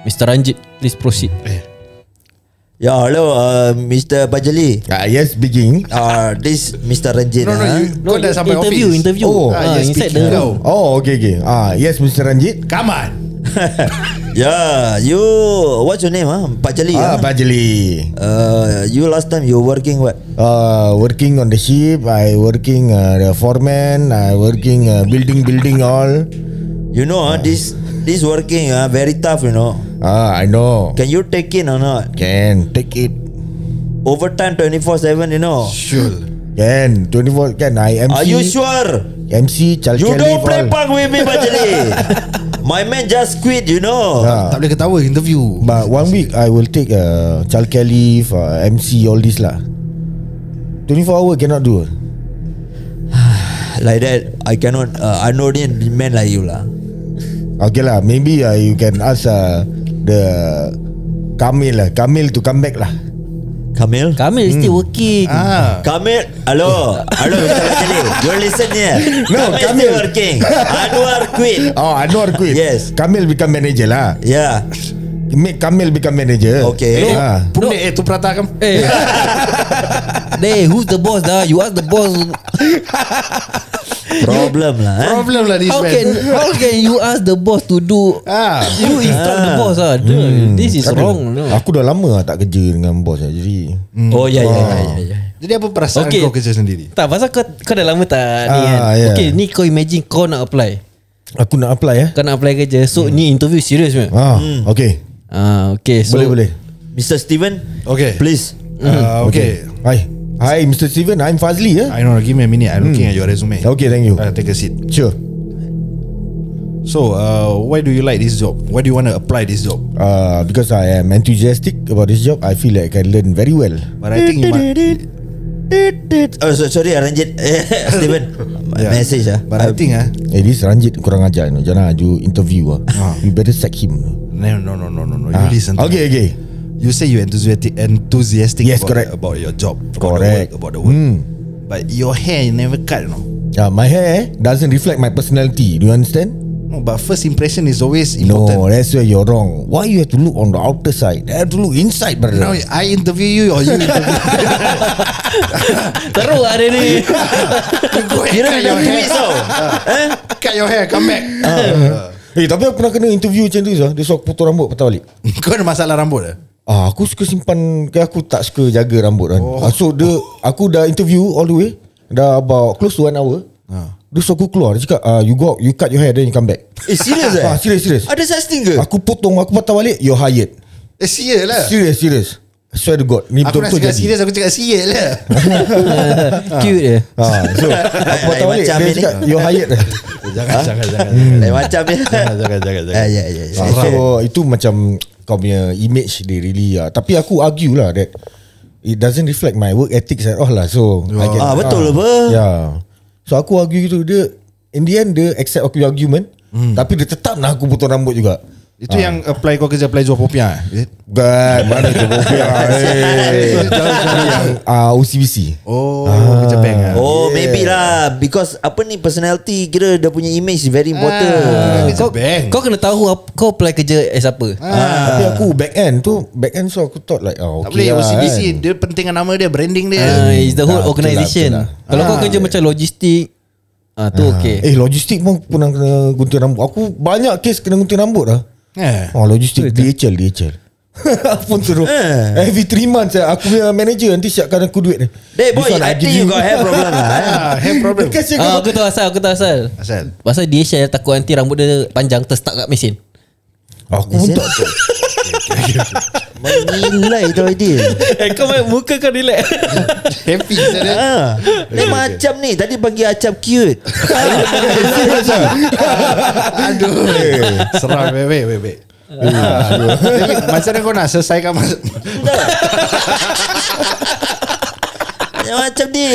Speaker 1: Mr. Ranjit, please proceed.
Speaker 2: Ya, hello, uh, Mr. Pak Jeli.
Speaker 3: Ah, Yes speaking
Speaker 2: Uh, this Mr. Ranjit.
Speaker 4: No, no,
Speaker 2: ah.
Speaker 4: you, kau dah sampai
Speaker 1: interview,
Speaker 4: office.
Speaker 1: interview.
Speaker 3: Oh,
Speaker 1: Ah,
Speaker 4: yes,
Speaker 1: inside
Speaker 4: speaking.
Speaker 1: the
Speaker 4: Hello.
Speaker 1: room.
Speaker 3: Oh okay okay ah, Yes Mr. Ranjit
Speaker 4: Come on.
Speaker 2: Yeah, Ya, you what's your name? Huh? Pajali.
Speaker 3: Ah,
Speaker 2: Ah,
Speaker 3: Pajali.
Speaker 2: uh, you last time you working what?
Speaker 3: Uh, working on the ship, I working uh, the foreman, I working uh, building, building all.
Speaker 2: You know, ah, this this working ah very tough. You know,
Speaker 3: Ah, I know.
Speaker 2: can you take in or not?
Speaker 3: Can take it.
Speaker 2: Overtime twenty four seven. You know.
Speaker 4: Sure.
Speaker 3: Can 24 can I MC?
Speaker 2: Are you sure?
Speaker 3: MC child
Speaker 2: You
Speaker 3: care
Speaker 2: don't
Speaker 3: leave
Speaker 2: play
Speaker 3: all.
Speaker 2: punk with me, Pajali. My man just quit. You know.
Speaker 3: Ah.
Speaker 4: Tak boleh ketawa interview.
Speaker 3: But one week I will take uh, childcare leave, uh, MC all this lah. 24 hour cannot do.
Speaker 2: Like that, I cannot. Uh, I know the man like you lah.
Speaker 3: Okay lah, maybe uh, you can ask uh, the Kamil lah, Kamil to come back
Speaker 1: [LAUGHS]
Speaker 3: lah.
Speaker 2: Kamil.
Speaker 1: Kamil hmm. still working
Speaker 4: Ah.
Speaker 2: Kamil, hello, hello, Mr. Pajali. You're listening here.
Speaker 3: No,
Speaker 2: Kamil,
Speaker 3: Kamil.
Speaker 2: still working. Anwar quit.
Speaker 3: Oh, Anwar quit.
Speaker 2: Yes.
Speaker 3: Kamil become manager lah.
Speaker 2: Yeah.
Speaker 3: Make Kamil become manager.
Speaker 2: Okay.
Speaker 3: Ah.
Speaker 4: Pernah eh tu prata kam.
Speaker 1: Eh Dey who's the boss dah You ask the boss
Speaker 2: Problem lah. Eh?
Speaker 4: Problem lah this
Speaker 1: How
Speaker 4: man.
Speaker 1: can How can you ask the boss to do
Speaker 4: Ah.
Speaker 1: You instruct the boss ah. Dude, This is
Speaker 3: Kamil,
Speaker 1: wrong Hmm. no.
Speaker 3: Aku dah lama lah tak kerja dengan bos lah. Jadi
Speaker 2: Oh ya ya ya, ya ya.
Speaker 4: Jadi apa perasaan
Speaker 1: Okay.
Speaker 4: kau kerja sendiri?
Speaker 1: Tak pasal kau Kau dah lama tak ni
Speaker 3: Ah,
Speaker 1: kan
Speaker 3: yeah.
Speaker 1: Okay ni kau imagine Kau nak apply
Speaker 3: aku nak apply eh.
Speaker 1: Kau nak apply kerja So ni interview serius man
Speaker 3: Ah, okay.
Speaker 1: Ah, Okay Hmm. so
Speaker 3: boleh boleh.
Speaker 2: Mr. Steven,
Speaker 4: Okay.
Speaker 2: please.
Speaker 4: Uh,
Speaker 3: Hmm.
Speaker 4: okay.
Speaker 3: Hi. Hi Mr. Steven, I'm Fazli eh.
Speaker 4: I know. Give me a minute. I'm looking at your resume.
Speaker 3: Okay, thank you.
Speaker 4: Uh, take a seat.
Speaker 3: Sure.
Speaker 4: So, uh, why do you like this job? Why do you want to apply this job?
Speaker 3: Uh, because I am enthusiastic about this job, I feel like I can learn very well.
Speaker 4: But I think you might,
Speaker 2: Oh so, sorry Ranjit. [LAUGHS] Eh, Steven.
Speaker 4: Yeah.
Speaker 2: Message ah.
Speaker 4: But I think ah,
Speaker 3: Eh, this Ranjit kurang ajar ni. Jangan you interview ah.
Speaker 4: Ah.
Speaker 3: You better sack him.
Speaker 4: no, no, no, no, no, no.
Speaker 3: Ah.
Speaker 4: You listen. To
Speaker 3: Okay,
Speaker 4: me.
Speaker 3: okay.
Speaker 4: You say you enthusiastic, enthusiastic.
Speaker 3: Yes,
Speaker 4: about,
Speaker 3: correct.
Speaker 4: About your job.
Speaker 3: Correct.
Speaker 4: About the work. About the work.
Speaker 3: Hmm.
Speaker 4: But your hair you never cut, you know.
Speaker 3: Ah, my hair doesn't reflect my personality. Do you understand?
Speaker 4: No, but first impression is always
Speaker 3: No,
Speaker 4: important.
Speaker 3: that's where you're wrong. Why you have to look on the outer side? I have to look inside, brother.
Speaker 4: Now I interview you or you interview
Speaker 1: Teruk lah dia
Speaker 3: [LAUGHS]
Speaker 1: ni
Speaker 2: Kira dah quit so. Eh?
Speaker 4: Cut Ah. your hair Come back
Speaker 3: Eh, tapi aku pernah kena interview macam tu Zah. Dia suruh aku potong rambut patah balik.
Speaker 4: Kau ada masalah rambut ke?
Speaker 3: Ah, aku suka simpan ke aku tak suka jaga rambut kan. Oh. So dia aku dah interview all the way dah about close to one hour. Ha. Dia suruh aku keluar Dia cakap ah, You go out You cut your hair Then you come back
Speaker 2: Eh serious eh?
Speaker 3: Ah, serious, serious.
Speaker 2: Ada Ya. such thing ke?
Speaker 3: Aku potong Aku patah balik You're hired
Speaker 4: Eh sia lah
Speaker 3: Serious serious I swear to God Ni
Speaker 4: Aku nak
Speaker 3: betul-betul
Speaker 4: cakap
Speaker 3: jadi
Speaker 4: serius Aku cakap sia lah
Speaker 1: Cute eh. dia
Speaker 3: ah, So aku patah
Speaker 2: Lain
Speaker 3: balik
Speaker 2: [LAUGHS] macam
Speaker 3: Dia
Speaker 2: ni.
Speaker 3: cakap You're hired
Speaker 2: [LAUGHS]
Speaker 4: Jangan jangan jangan
Speaker 2: Lain macam ya.
Speaker 4: Jangan jangan
Speaker 2: Ah, ya ya. ya.
Speaker 3: Ah, So itu macam Kau punya image Dia really ah. Tapi aku argue lah That It doesn't reflect my work ethics at all lah So I can-
Speaker 2: Ah betul lah apa?
Speaker 3: Yeah. So aku argue gitu dia in the end dia accept aku punya argument hmm. tapi dia tetap nak aku potong rambut juga.
Speaker 4: [LAUGHS] Itu yang apply kau kerja Apply jual popiah eh?
Speaker 3: Bukan mana tu
Speaker 2: [LAUGHS]
Speaker 3: kopiah. yang uh, OCBC.
Speaker 4: Oh Kerja bank lah
Speaker 2: Oh maybe lah because apa ni personality kira dia punya image is very important.
Speaker 4: Ah, Kerja
Speaker 1: kau,
Speaker 4: bank
Speaker 1: kau kena tahu apa- Kau apply kerja as apa
Speaker 3: Ah. Tapi aku back end tu back end so aku thought like oh,
Speaker 4: Tak boleh
Speaker 3: okay lah,
Speaker 4: OCBC
Speaker 3: kan.
Speaker 4: Dia pentingkan nama dia Branding
Speaker 1: Ah,
Speaker 4: dia
Speaker 1: It's the whole
Speaker 3: Nah, betul lah,
Speaker 1: organisation
Speaker 3: betul lah.
Speaker 1: Kalau kau kerja macam logistik ah Tu okay
Speaker 3: Eh logistik pun aku pernah kena gunting rambut. Aku banyak kes kena gunting rambut lah.
Speaker 4: Eh.
Speaker 3: Oh logistik DHL [LAUGHS] DHL. pun teruk. Every 3 months eh, aku punya manager nanti siapkan aku duit ni.
Speaker 2: Hey boy,
Speaker 3: This one
Speaker 2: I
Speaker 3: give
Speaker 2: think you got hair problem lah. eh.
Speaker 4: [LAUGHS] Ah, Hair problem
Speaker 3: Dia kasi
Speaker 1: Ah,
Speaker 3: kau
Speaker 1: Aku tahu asal Aku tahu asal
Speaker 4: Asal
Speaker 1: Pasal dia share takut nanti rambut dia panjang terstuck kat mesin
Speaker 3: Aku pun tak
Speaker 2: Menilai tu
Speaker 3: [LAUGHS]
Speaker 2: idea.
Speaker 1: Eh kau main muka kau relax
Speaker 4: Happy eh? asal dia
Speaker 2: Ah, ni macam ni tadi bagi acap cute.
Speaker 4: [LAUGHS] Aduh Seram Wait wait wait, wait. Ah, Jadi, Macam mana kau nak selesaikan mas-
Speaker 2: Yang macam ni.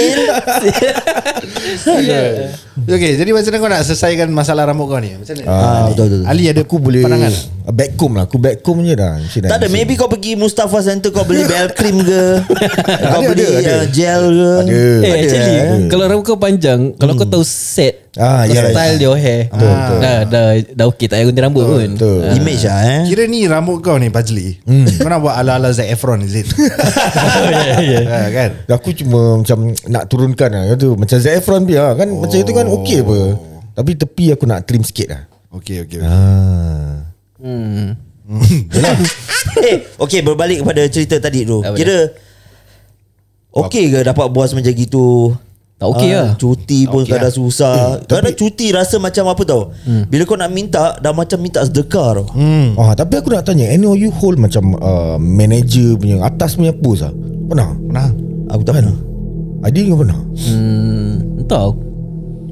Speaker 4: Okay Eh. jadi macam mana kau nak selesaikan Masalah rambut kau ni Macam mana
Speaker 3: Ah, betul, betul, betul.
Speaker 4: Ali ada
Speaker 3: Aku boleh
Speaker 4: pandangan?
Speaker 3: Backcomb lah Aku backcomb je dah Mesti dah
Speaker 2: Tak ada
Speaker 3: mesti.
Speaker 2: maybe kau pergi Mustafa Center kau beli bell cream ke? kau
Speaker 3: Ada,
Speaker 2: beli
Speaker 3: ada, ada.
Speaker 2: uh, gel ke?
Speaker 3: Ada
Speaker 1: [LAUGHS] Eh actually
Speaker 3: eh.
Speaker 1: Kalau rambut kau panjang Kalau kau tahu set
Speaker 3: Ah,
Speaker 1: Kau
Speaker 3: yeah,
Speaker 1: style
Speaker 3: yeah.
Speaker 1: your hair
Speaker 3: Betul,
Speaker 1: ah,
Speaker 3: betul.
Speaker 1: Dah, dah, dah okay Tak payah gunting rambut pun Ah.
Speaker 3: Betul
Speaker 1: [LAUGHS]
Speaker 2: Image lah eh.
Speaker 4: Kira ni rambut kau ni Pajli Kau nak buat ala-ala Zac Efron is it?
Speaker 1: Eh.
Speaker 4: ha, kan?
Speaker 3: Aku cuma macam Nak turunkan lah Kata macam Zac Efron dia Kan macam itu kan okey apa Tapi tepi aku nak trim sikit lah
Speaker 4: Okay okay, okay.
Speaker 3: ah.
Speaker 1: hmm.
Speaker 2: [LAUGHS] Eh, okay berbalik kepada cerita tadi tu.
Speaker 1: Apa dia?
Speaker 2: Kira Okey ke dapat bos macam gitu?
Speaker 1: Tak okey
Speaker 2: Ah,
Speaker 1: lah.
Speaker 2: Cuti pun okay kadang susah.
Speaker 3: Hmm,
Speaker 2: Kadang cuti rasa macam apa tau. Bila kau nak minta dah macam minta sedekah tau.
Speaker 3: Hmm. Ah, tapi aku nak tanya NOU hold macam uh, manager punya atas punya post ah. Pernah?
Speaker 4: Pernah
Speaker 2: Aku tak pernah.
Speaker 3: Adil kau pernah?
Speaker 1: Hmm, entah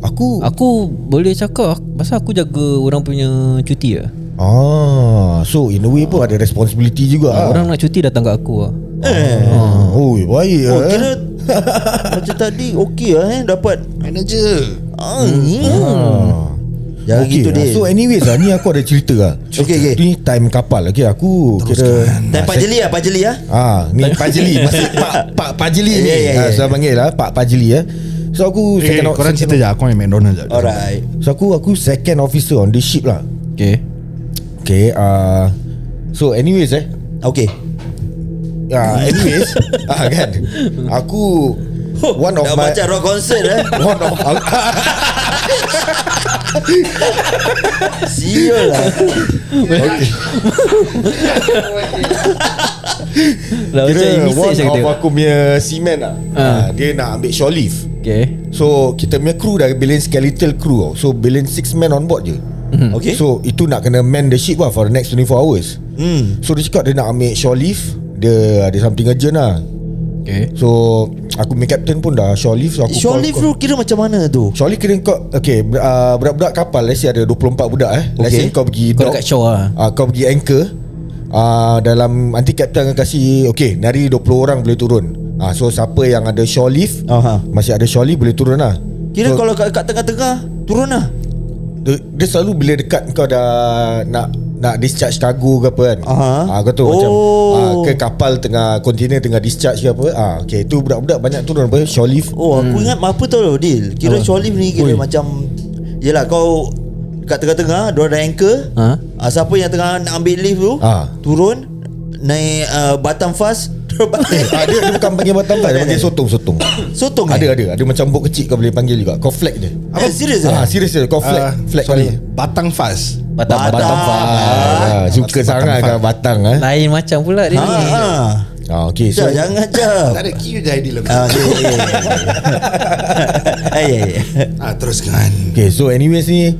Speaker 3: Aku
Speaker 1: Aku boleh cakap Pasal aku jaga orang punya cuti lah
Speaker 3: ah so in a way pun ada responsibility juga ah.
Speaker 1: Orang nak cuti datang kat aku lah
Speaker 2: Eh.
Speaker 3: Ah, oi baik
Speaker 2: Oh,
Speaker 3: ah.
Speaker 2: kira [LAUGHS] macam tadi okey lah eh dapat.
Speaker 4: Manager
Speaker 2: Ah, hmm.
Speaker 3: Ah.
Speaker 2: Jangan gitu
Speaker 3: lah.
Speaker 2: dia.
Speaker 3: So anyways lah Ni aku ada cerita lah
Speaker 2: Okay, okay.
Speaker 3: Tu ni time kapal Okay aku kira
Speaker 2: Dan Pak Jeli ah, Pak Jeli ah.
Speaker 3: Ah, ni Pajli masih Pak Pak Pajli ni.
Speaker 2: Ya,
Speaker 3: Yeah,
Speaker 2: ya, ya,
Speaker 3: saya panggil lah Pak Pajli eh. So
Speaker 4: Eh,
Speaker 3: aku second
Speaker 4: korang cerita je Aku ambil McDonald's je
Speaker 2: Alright.
Speaker 3: So aku aku second officer on the ship lah.
Speaker 1: Okay
Speaker 3: Okay, uh, so anyways eh.
Speaker 2: Okay.
Speaker 3: Ah,
Speaker 2: [LAUGHS]
Speaker 3: anyways, ah kan. Aku one of
Speaker 2: Dah
Speaker 3: my
Speaker 2: macam rock concert eh.
Speaker 3: one of
Speaker 2: Sial lah.
Speaker 3: okay.
Speaker 1: Lah macam
Speaker 3: Kira
Speaker 1: English
Speaker 3: one
Speaker 1: je
Speaker 3: of
Speaker 1: kata
Speaker 3: aku punya seaman lah
Speaker 1: Ah.
Speaker 3: ah, Dia nak ambil shore leave
Speaker 1: Okay
Speaker 3: So kita punya crew dah billion skeletal crew tau So billion six men on board je
Speaker 2: Mhm. Okay.
Speaker 3: So itu nak kena man the ship lah For the next 24 hours
Speaker 2: Hmm.
Speaker 3: So dia cakap dia nak ambil shore leave Dia ada something urgent lah
Speaker 1: Okay
Speaker 3: So aku punya captain pun dah shore leave so aku
Speaker 2: Shore
Speaker 3: call-
Speaker 2: leave
Speaker 3: call-
Speaker 2: tu kira macam mana tu?
Speaker 3: Shore leave kira kau Okay ber- ah, budak-budak kapal Let's say ada 24 budak eh Let's
Speaker 2: Okay.
Speaker 3: say kau pergi
Speaker 1: Kau
Speaker 3: dock,
Speaker 1: dekat show lah
Speaker 3: ah, Kau pergi anchor ah, Dalam Nanti captain akan kasi Okay ni hari 20 orang boleh turun ah, So siapa yang ada shore leave
Speaker 2: Aha.
Speaker 3: Masih ada shore leave boleh turun lah
Speaker 2: Kira
Speaker 3: so,
Speaker 2: kalau kat, kat tengah-tengah Turun lah
Speaker 3: dia, dia selalu bila dekat kau dah nak nak discharge kargo ke apa kan
Speaker 2: Aha.
Speaker 3: ah, Kau tahu macam
Speaker 2: Oh.
Speaker 3: ah, Ke kapal tengah Container tengah discharge ke apa ah, Okay tu budak-budak banyak turun apa Shore leave
Speaker 2: Oh aku ingat apa tau lo Dil Kira shore leave ni kira
Speaker 3: Ui.
Speaker 2: macam Yelah kau Kat tengah-tengah Diorang ada anchor
Speaker 1: Ha?
Speaker 2: ah, Siapa yang tengah nak ambil leave tu
Speaker 3: Ah.
Speaker 2: Turun Naik uh, Batam fast [LAUGHS]
Speaker 3: ah, dia, dia bukan panggil batang tak Dia panggil sotong-sotong
Speaker 2: Sotong eh?
Speaker 3: Ada ada Ada macam bot kecil kau boleh panggil juga Kau flag dia
Speaker 2: Apa? Serius
Speaker 3: ah,
Speaker 2: ah?
Speaker 3: Serius dia Kau
Speaker 4: Ah,
Speaker 3: flag Flag
Speaker 4: sorry.
Speaker 3: kali
Speaker 4: Batang fast
Speaker 1: Batam,
Speaker 2: Batam.
Speaker 1: Batam.
Speaker 3: ah, ah, Suka sangat kan batang eh.
Speaker 1: Lain macam pula dia
Speaker 2: Ha,
Speaker 1: ni
Speaker 2: ha.
Speaker 3: ah, Okay so
Speaker 2: Jap,
Speaker 4: Ya,
Speaker 2: jangan jap
Speaker 4: Tak ada cue je idea lebih
Speaker 2: Ah, okay, [LAUGHS] okay. Ay, ay, ay.
Speaker 4: ah, Teruskan
Speaker 3: Okay so anyways ni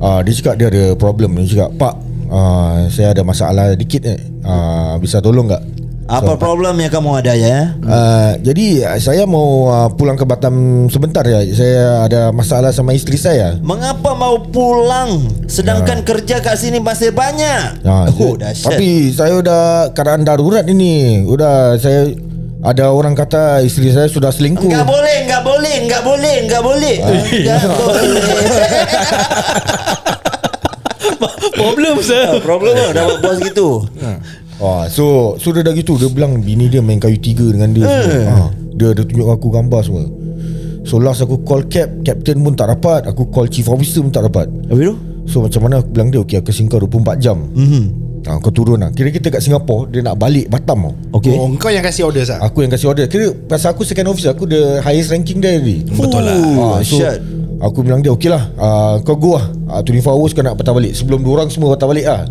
Speaker 3: uh, Dia cakap dia ada problem Dia cakap Pak uh, Saya ada masalah dikit eh. uh, Bisa tolong tak
Speaker 2: Apa problem yang kamu ada ya?
Speaker 3: Uh, jadi uh, saya mau uh, pulang ke Batam sebentar ya. Saya ada masalah sama isteri saya.
Speaker 2: Mengapa mau pulang sedangkan kerja kat sini masih banyak?
Speaker 3: Ah,
Speaker 2: oh, dahsyat.
Speaker 3: saya- Ya. Tapi saya udah keadaan darurat ini. Udah saya ada orang kata isteri saya sudah selingkuh.
Speaker 2: Enggak boleh, enggak boleh, enggak boleh, enggak boleh.
Speaker 3: Ah. [LAUGHS]
Speaker 2: Enggak boleh.
Speaker 1: Problem sir
Speaker 2: Problem lah dapat bos gitu.
Speaker 3: Ah, so sudah dah gitu dia bilang bini dia main kayu tiga dengan dia.
Speaker 2: Hmm.
Speaker 3: semua. Ah, dia dia tunjuk aku gambar semua. So last aku call cap, captain pun tak dapat, aku call chief officer pun tak dapat.
Speaker 2: Habis tu? Mhm.
Speaker 3: So macam mana aku bilang dia Okay aku singkau 24 jam mm-hmm. ha, Kau turun lah Kira kita kat Singapura Dia nak balik Batam tau
Speaker 2: Okey.
Speaker 4: Oh kau yang kasih order sah.
Speaker 3: Aku yang kasih order Kira pasal aku second officer Aku the highest ranking dia tadi
Speaker 4: Betul lah.
Speaker 2: Oh,
Speaker 3: Ah, so,
Speaker 2: shit.
Speaker 3: Aku bilang dia Okay lah uh, Kau go lah uh, 24 hours kau nak patah balik Sebelum orang semua patah balik lah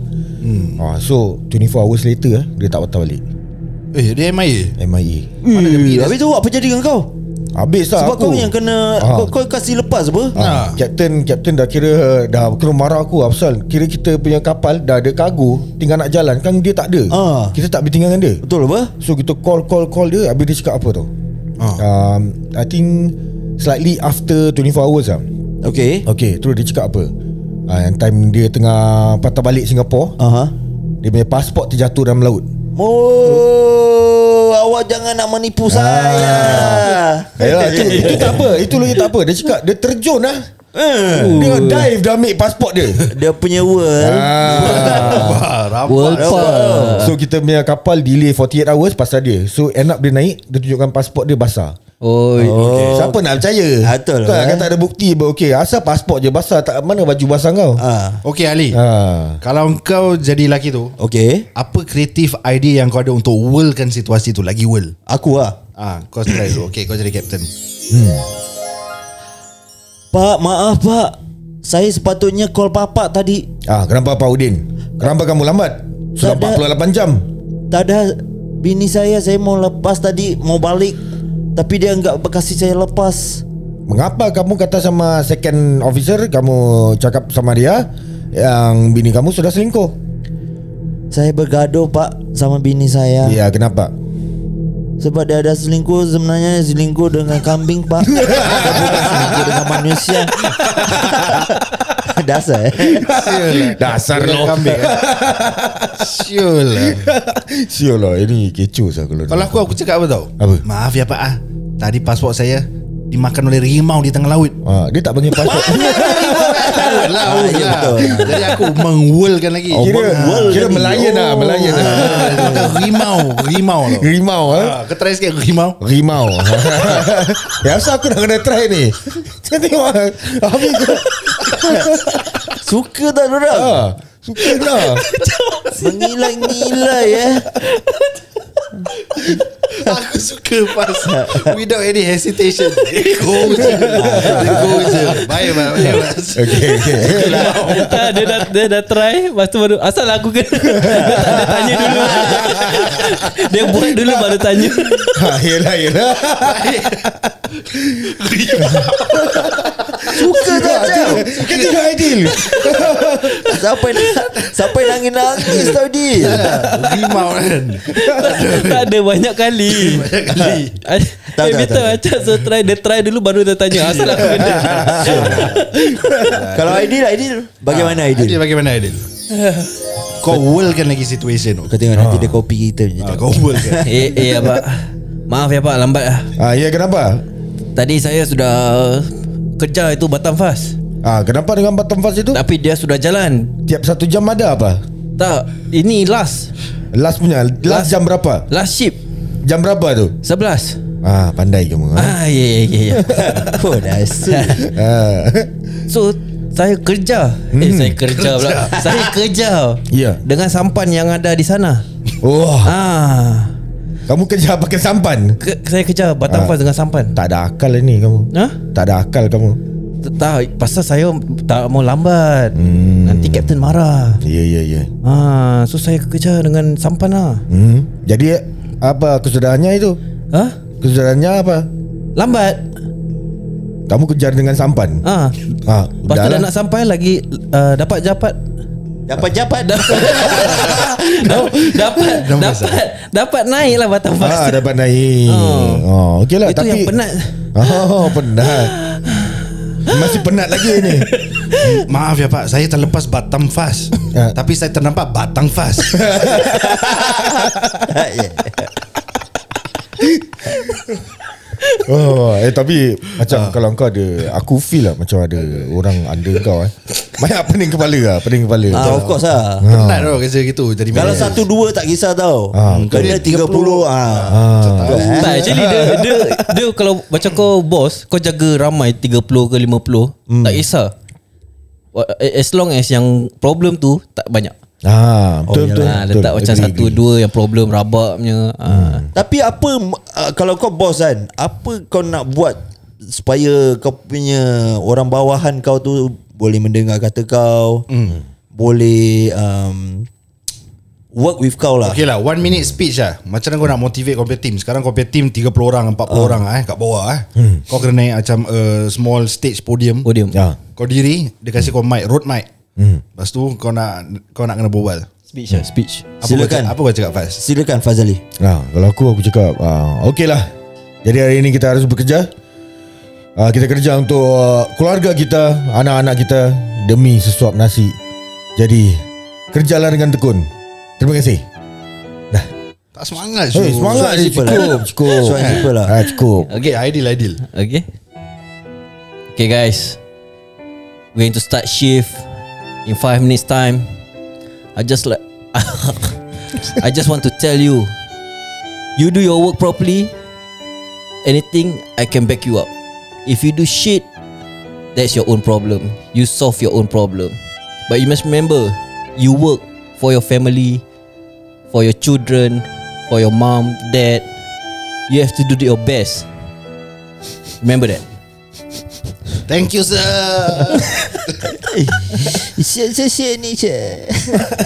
Speaker 3: hmm. uh, So 24 hours later eh, Dia tak patah balik
Speaker 4: Eh dia MIA
Speaker 3: MIA
Speaker 2: Eh, Habis tu apa jadi dengan kau?
Speaker 3: Habis lah
Speaker 2: Sebab
Speaker 3: aku
Speaker 2: kau yang kena
Speaker 3: Ah.
Speaker 2: kau, kau kasih lepas apa?
Speaker 3: Ah, Captain Captain dah kira Dah kena marah aku lah Pasal kira kita punya kapal Dah ada kargo Tinggal nak jalan Kan dia tak ada
Speaker 2: Ah.
Speaker 3: Kita tak boleh tinggal dengan dia
Speaker 2: Betul apa?
Speaker 3: So kita call call call dia Habis dia cakap apa tau
Speaker 4: Ah.
Speaker 3: um, I think Slightly after 24 hours lah
Speaker 2: Okey.
Speaker 3: Okay Terus dia cakap apa uh, Yang time dia tengah Patah balik Singapura
Speaker 2: Aha.
Speaker 3: Dia punya pasport terjatuh dalam laut
Speaker 2: Oh, awak jangan nak menipu saya. Eh,
Speaker 3: Ayolah, itu, itu tak apa Itu lagi tak apa Dia cakap Dia terjun lah Dia dive Dia ambil pasport dia
Speaker 2: eh, Dia punya world.
Speaker 3: ah.
Speaker 4: [LAUGHS] Wah rapat
Speaker 1: World Cup
Speaker 3: So kita punya kapal Delay 48 hours Pasal dia So end up dia naik Dia tunjukkan pasport dia basah
Speaker 1: Oi
Speaker 2: Oh.
Speaker 3: Okay. Siapa nak percaya
Speaker 2: Betul
Speaker 3: Kau
Speaker 2: lah,
Speaker 3: kan
Speaker 2: eh.
Speaker 3: tak ada bukti pun. Okey asal pasport je basah tak, Mana baju basah kau
Speaker 2: Ah,
Speaker 4: Okay Ali
Speaker 3: Ah.
Speaker 4: Kalau kau jadi lelaki tu
Speaker 2: okey.
Speaker 4: Apa kreatif idea yang kau ada Untuk whirlkan situasi tu Lagi whirl
Speaker 2: Aku ah.
Speaker 4: Ah, kau try dulu Okay kau jadi captain
Speaker 2: Pak, maaf pak. Saya sepatutnya call bapak tadi.
Speaker 3: ah, Kenapa Pak Udin Kenapa kamu lambat Sudah
Speaker 2: Tak ada.
Speaker 3: 48 jam
Speaker 2: Tak ada Bini saya Saya mau lepas tadi Mau balik Tapi dia enggak kasih saya lepas
Speaker 3: Mengapa kamu kata sama second officer Kamu cakap sama dia Yang bini kamu sudah selingkuh
Speaker 2: Saya bergaduh pak Sama bini saya
Speaker 3: Iya Ya, kenapa
Speaker 2: Sebab dia ada selingkuh Sebenarnya selingkuh dengan kambing [LAUGHS] pak Dia Bukan selingkuh dengan manusia [LAUGHS] Dasar eh
Speaker 4: [LAUGHS]
Speaker 3: Dasar lo
Speaker 4: Kambing
Speaker 3: [LAUGHS]
Speaker 4: eh. Siul lah
Speaker 3: Sial lah Ini kecoh lah kalau
Speaker 4: Kalau aku aku cakap apa tau
Speaker 3: Apa?
Speaker 4: Maaf ya pak ah Tadi pasport saya Dimakan oleh rimau di tengah laut
Speaker 3: ha, Dia tak panggil passport
Speaker 4: Laut lah
Speaker 2: Ah,
Speaker 4: laut
Speaker 2: ya,
Speaker 4: lah.
Speaker 2: betul.
Speaker 4: Jadi aku mengwulkan lagi
Speaker 3: Kira,
Speaker 2: world
Speaker 3: Oh, kira
Speaker 2: lagi.
Speaker 3: melayan lah Melayan lah
Speaker 4: Ah, Rimau Rimau lah
Speaker 3: Rimau ha?
Speaker 4: Ah, Kau try sikit rimau
Speaker 3: Rimau [LAUGHS] Biasa aku nak kena try ni [LAUGHS] Saya tengok ah, Habis kau
Speaker 2: Suka tak dorang
Speaker 3: ha, Suka lah
Speaker 2: Mengilai-ngilai eh
Speaker 4: Aku suka pas Without any hesitation Dia Go je Dia Go je Baik baik baik.
Speaker 3: Okay, okay.
Speaker 1: lah. [LAUGHS] Tak, Ah, dia dah dia dah try Lepas tu baru Asal aku kena Dia [LAUGHS] tak ada tanya dulu [LAUGHS] Dia buat dulu baru tanya [LAUGHS]
Speaker 3: ha, Yelah yelah
Speaker 2: Suka tak Jam
Speaker 3: Kita tidak ideal
Speaker 2: Sampai Sampai nangis-nangis [LAUGHS] tadi
Speaker 4: Rimau kan
Speaker 1: Tak ada [LAUGHS] banyak kali
Speaker 4: Banyak kali
Speaker 1: Eh
Speaker 2: tak,
Speaker 1: Peter
Speaker 2: tak.
Speaker 1: macam so try Dia try dulu baru dia tanya Asal aku kena
Speaker 2: Kalau Aidil Aidil Bagaimana
Speaker 4: Adil
Speaker 2: Aidil
Speaker 4: bagaimana Adil Kau whirlkan lagi situation tu
Speaker 2: Kau tengok nanti dia kopi kita je
Speaker 4: Ah, Kau whirlkan
Speaker 1: [LAUGHS] Eh eh abang Maaf ya pak lambat lah
Speaker 3: ha, Ya kenapa
Speaker 1: Tadi saya sudah Kerja itu Batam Fast
Speaker 3: Ah, kenapa dengan bottom fast itu?
Speaker 1: Tapi dia sudah jalan
Speaker 3: Tiap satu jam ada apa?
Speaker 1: Tak Ini last
Speaker 3: Last punya
Speaker 1: Last.
Speaker 3: Last, jam berapa?
Speaker 1: Last ship
Speaker 3: Jam berapa tu?
Speaker 1: 11
Speaker 3: Ah, pandai kamu
Speaker 1: Ah
Speaker 3: ha?
Speaker 1: ya ya [LAUGHS] ya ya.
Speaker 2: Oh dasar
Speaker 3: ah.
Speaker 1: So saya kerja hmm. Eh saya kerja, pula Saya kerja
Speaker 3: Ya.
Speaker 1: Dengan sampan yang ada di sana
Speaker 3: Oh
Speaker 1: Ah,
Speaker 3: Kamu kerja pakai sampan?
Speaker 1: ke, Saya kerja Batam
Speaker 3: Ah.
Speaker 1: Fast dengan sampan
Speaker 3: Tak ada akal lah ni kamu
Speaker 1: Ha?
Speaker 3: Tak ada akal kamu
Speaker 1: Tak Pasal saya tak mau lambat hmm. Nanti Captain marah
Speaker 3: Ya ya ya
Speaker 1: Ah, So saya kerja dengan sampan lah
Speaker 3: hmm. Jadi apa kesudahannya itu?
Speaker 1: Ha?
Speaker 3: Kesudahannya apa?
Speaker 1: Lambat
Speaker 3: Kamu kejar dengan sampan?
Speaker 1: Ah,
Speaker 3: Ah,
Speaker 1: Lepas tu dah lah.
Speaker 3: udahlah.
Speaker 1: nak sampai lagi uh, Dapat japat
Speaker 2: Dapat japat dah
Speaker 1: Dap- [LAUGHS] Dapat Dapat Dapat naik lah Batam Fast
Speaker 3: Ah, dapat naik.
Speaker 1: Oh.
Speaker 3: Oh, oh okey lah
Speaker 1: Itu
Speaker 3: tapi
Speaker 1: yang penat
Speaker 3: [LAUGHS] Oh, penat. Masih penat lagi ni.
Speaker 4: [LAUGHS] Maaf ya pak Saya terlepas Batam Fast
Speaker 3: Ah.
Speaker 4: Tapi saya ternampak Batang Fast
Speaker 3: [LAUGHS]
Speaker 2: Ya.
Speaker 3: Oh, eh tapi
Speaker 1: Ah.
Speaker 3: macam kalau kau ada aku feel lah macam ada orang under kau eh. Banyak pening kepala lah, pening kepala.
Speaker 2: Ah,
Speaker 1: oh.
Speaker 2: Of course lah
Speaker 4: Penat tau kerja gitu Jadi
Speaker 2: Kalau
Speaker 4: manager.
Speaker 2: satu dua tak kisah tau
Speaker 3: Ah,
Speaker 2: Kau dia tiga puluh ah. Betul, eh?
Speaker 1: Tak actually
Speaker 3: [LAUGHS]
Speaker 1: dia, dia, dia kalau macam kau bos Kau jaga ramai 30 ke 50
Speaker 3: Hmm.
Speaker 1: Tak kisah Wa- eh, As long as yang problem tu Tak banyak
Speaker 3: Ah,
Speaker 1: oh,
Speaker 3: betul betul.
Speaker 1: ha,
Speaker 3: betul.
Speaker 1: Letak macam
Speaker 3: Agree,
Speaker 1: satu
Speaker 3: agree. Hmm.
Speaker 1: dua Yang problem rabak punya ha.
Speaker 2: Tapi apa uh, Kalau kau bos kan Apa kau nak buat Supaya kau punya Orang bawahan kau tu Boleh mendengar kata kau Boleh um, Work with kau lah
Speaker 4: Okay lah One minute speech lah Macam mana kau nak motivate Kau punya team Sekarang kau punya team 30 orang 40
Speaker 3: Ah.
Speaker 4: orang eh Kat bawah eh
Speaker 3: Hmm.
Speaker 4: Kau kena naik macam uh, Small stage podium
Speaker 1: Podium
Speaker 3: Ya.
Speaker 4: Kau diri Dia kasi kau mic Road mic
Speaker 2: Hmm.
Speaker 4: Lepas tu kau nak Kau nak kena berbual
Speaker 1: Speech lah Speech
Speaker 4: apa
Speaker 2: Silakan.
Speaker 4: kau, cakap- Apa kau cakap Faz
Speaker 2: Silakan Fazali
Speaker 3: Nah, kalau aku aku cakap ah, okey lah. Jadi hari ini kita harus bekerja. Ah, kita kerja untuk ah, keluarga kita, anak-anak kita demi sesuap nasi. Jadi kerjalah dengan tekun. Terima kasih.
Speaker 4: Tak semangat
Speaker 1: Eh,
Speaker 3: Hey,
Speaker 4: Su.
Speaker 3: semangat
Speaker 2: so
Speaker 3: dia
Speaker 2: simple
Speaker 3: cukup,
Speaker 2: lah.
Speaker 3: cukup.
Speaker 2: So simple lah.
Speaker 3: Ah, cukup.
Speaker 4: Okay ideal ideal
Speaker 1: Okay Okay guys We're going to start shift In 5 minutes time I just like [LAUGHS] I just want to tell you You do your work properly Anything I can back you up If you do shit That's your own problem You solve your own problem But you must remember You work for your family For your children For your mom, dad You have to do your best Remember that
Speaker 4: Thank you sir
Speaker 2: Saya ni je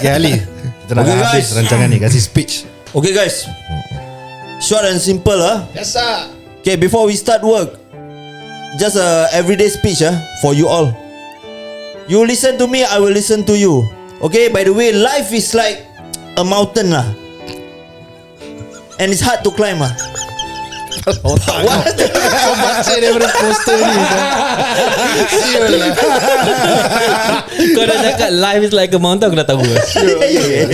Speaker 4: Okay Ali Kita nak
Speaker 2: Okay,
Speaker 4: habis
Speaker 2: guys.
Speaker 4: rancangan ni Kasih speech
Speaker 2: Okay guys Short and simple ah.
Speaker 4: Yes sir
Speaker 2: Okay before we start work Just a everyday speech ah For you all You listen to me I will listen to you Okay by the way Life is like A mountain lah And it's hard to climb ah. What?
Speaker 4: Kau baca daripada poster ni Sial lah
Speaker 1: Kau dah cakap life is like a mountain Aku dah tahu lah.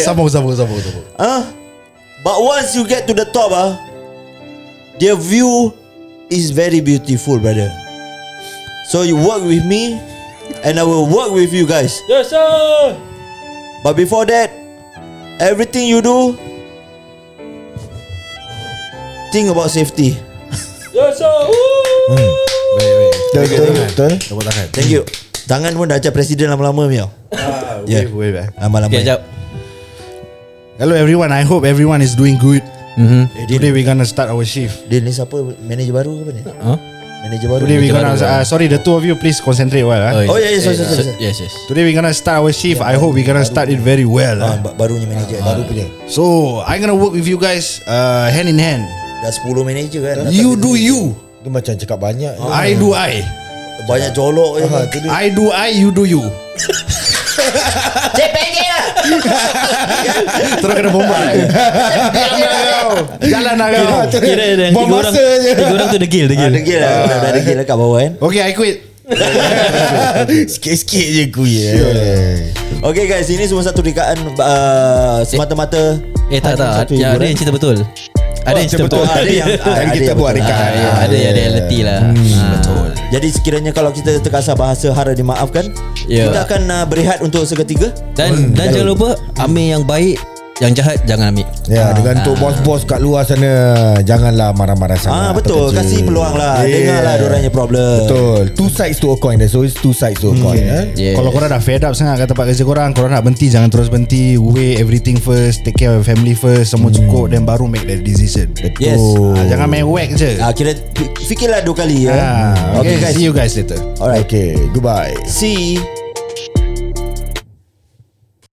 Speaker 4: Sambung sambung sambung sambung
Speaker 2: Ah, But once you get to the top ah, the view is very beautiful, brother. So you work with me, and I will work with you guys.
Speaker 1: Yes sir
Speaker 2: But before that, everything you do, think about safety.
Speaker 1: Yes sir
Speaker 4: Baik baik
Speaker 3: Betul, betul, betul.
Speaker 4: Tepuk tangan
Speaker 2: Thank you. Tangan pun dah macam presiden lama-lama miau.
Speaker 4: Ah,
Speaker 2: Yeah.
Speaker 4: wave, wave, eh.
Speaker 2: Lama-lama.
Speaker 1: Okay jap
Speaker 4: Hello everyone I hope everyone is doing good
Speaker 2: Mm-hmm.
Speaker 4: Today we gonna start our shift
Speaker 2: Dia ni siapa? Manager baru ke apa ni?
Speaker 1: huh?
Speaker 2: Manager baru.
Speaker 4: Today we
Speaker 1: Macam
Speaker 4: gonna
Speaker 1: mana,
Speaker 4: uh, Sorry the two of you please concentrate well
Speaker 2: lah.
Speaker 4: eh.
Speaker 2: Oh, yeah, yeah, sorry, sorry, sorry.
Speaker 1: Yes yes
Speaker 4: Today we gonna start our shift I hope we gonna start it very well eh.
Speaker 2: Ah, ba- barunya manager. baru punya.
Speaker 4: So I'm gonna work with you guys uh, Hand in hand
Speaker 2: Dah 10 manager kan. Dah
Speaker 4: You
Speaker 2: tak-
Speaker 4: do you
Speaker 3: Dia macam cakap banyak. je.
Speaker 4: I do I
Speaker 2: Banyak colok je. kan?
Speaker 3: Ah, tu dia.
Speaker 4: I do I You do you
Speaker 2: CPG lah.
Speaker 4: Terus kena bomba Jalan lah kau Jalan lah kau
Speaker 1: Kira ada
Speaker 3: Buang
Speaker 1: tiga orang
Speaker 3: masa je.
Speaker 1: Tiga orang tu degil
Speaker 2: Ah,
Speaker 1: degil
Speaker 2: degil lah. Dah dah degil lah kat bawah kan.
Speaker 4: Okay I quit
Speaker 3: Sikit-sikit je ku ya.
Speaker 2: Okay guys, ini semua satu rekaan uh, semata-mata.
Speaker 1: Eh tak
Speaker 2: hanya
Speaker 1: tak
Speaker 2: satu
Speaker 1: Yang ada
Speaker 2: hiburan.
Speaker 1: yang cerita betul Ada yang cerita betul
Speaker 2: Ah, ada [LAUGHS] yang ah,
Speaker 3: Dan
Speaker 2: ada
Speaker 3: kita
Speaker 2: yang
Speaker 3: buat
Speaker 2: betul.
Speaker 3: rekaan.
Speaker 2: Ah,
Speaker 1: Ah, Ada yang reality lah Ah.
Speaker 2: Jadi sekiranya kalau kita terkasar bahasa hara dimaafkan,
Speaker 1: Ya.
Speaker 2: kita akan uh, berehat untuk seketika.
Speaker 1: Dan dan jangan lupa Ambil yang baik Yang jahat jangan ambil
Speaker 2: Ah,
Speaker 3: Ya, dengan untuk bos-bos kat luar sana janganlah marah-marah
Speaker 2: Ah
Speaker 3: sangat.
Speaker 2: betul,
Speaker 3: Pekerja.
Speaker 2: kasih peluang lah.
Speaker 3: Yeah.
Speaker 2: Dengarlah orangnya Hmm. problem.
Speaker 3: Betul. Two sides to a coin. There's always two sides to a coin. eh.
Speaker 1: Yes.
Speaker 4: Kalau korang dah fed up sangat kat tempat kerja korang Korang nak berhenti Jangan terus berhenti Weigh everything first Take care of your family first Semua cukup Then baru make that decision
Speaker 2: Yes.
Speaker 4: Ah, Jangan main whack je
Speaker 2: Ah kira fikirlah dua kali ya.
Speaker 4: Ah,
Speaker 2: okay,
Speaker 4: okay,
Speaker 2: guys.
Speaker 4: See you guys later
Speaker 2: Alright.
Speaker 3: Okay, goodbye.
Speaker 2: See.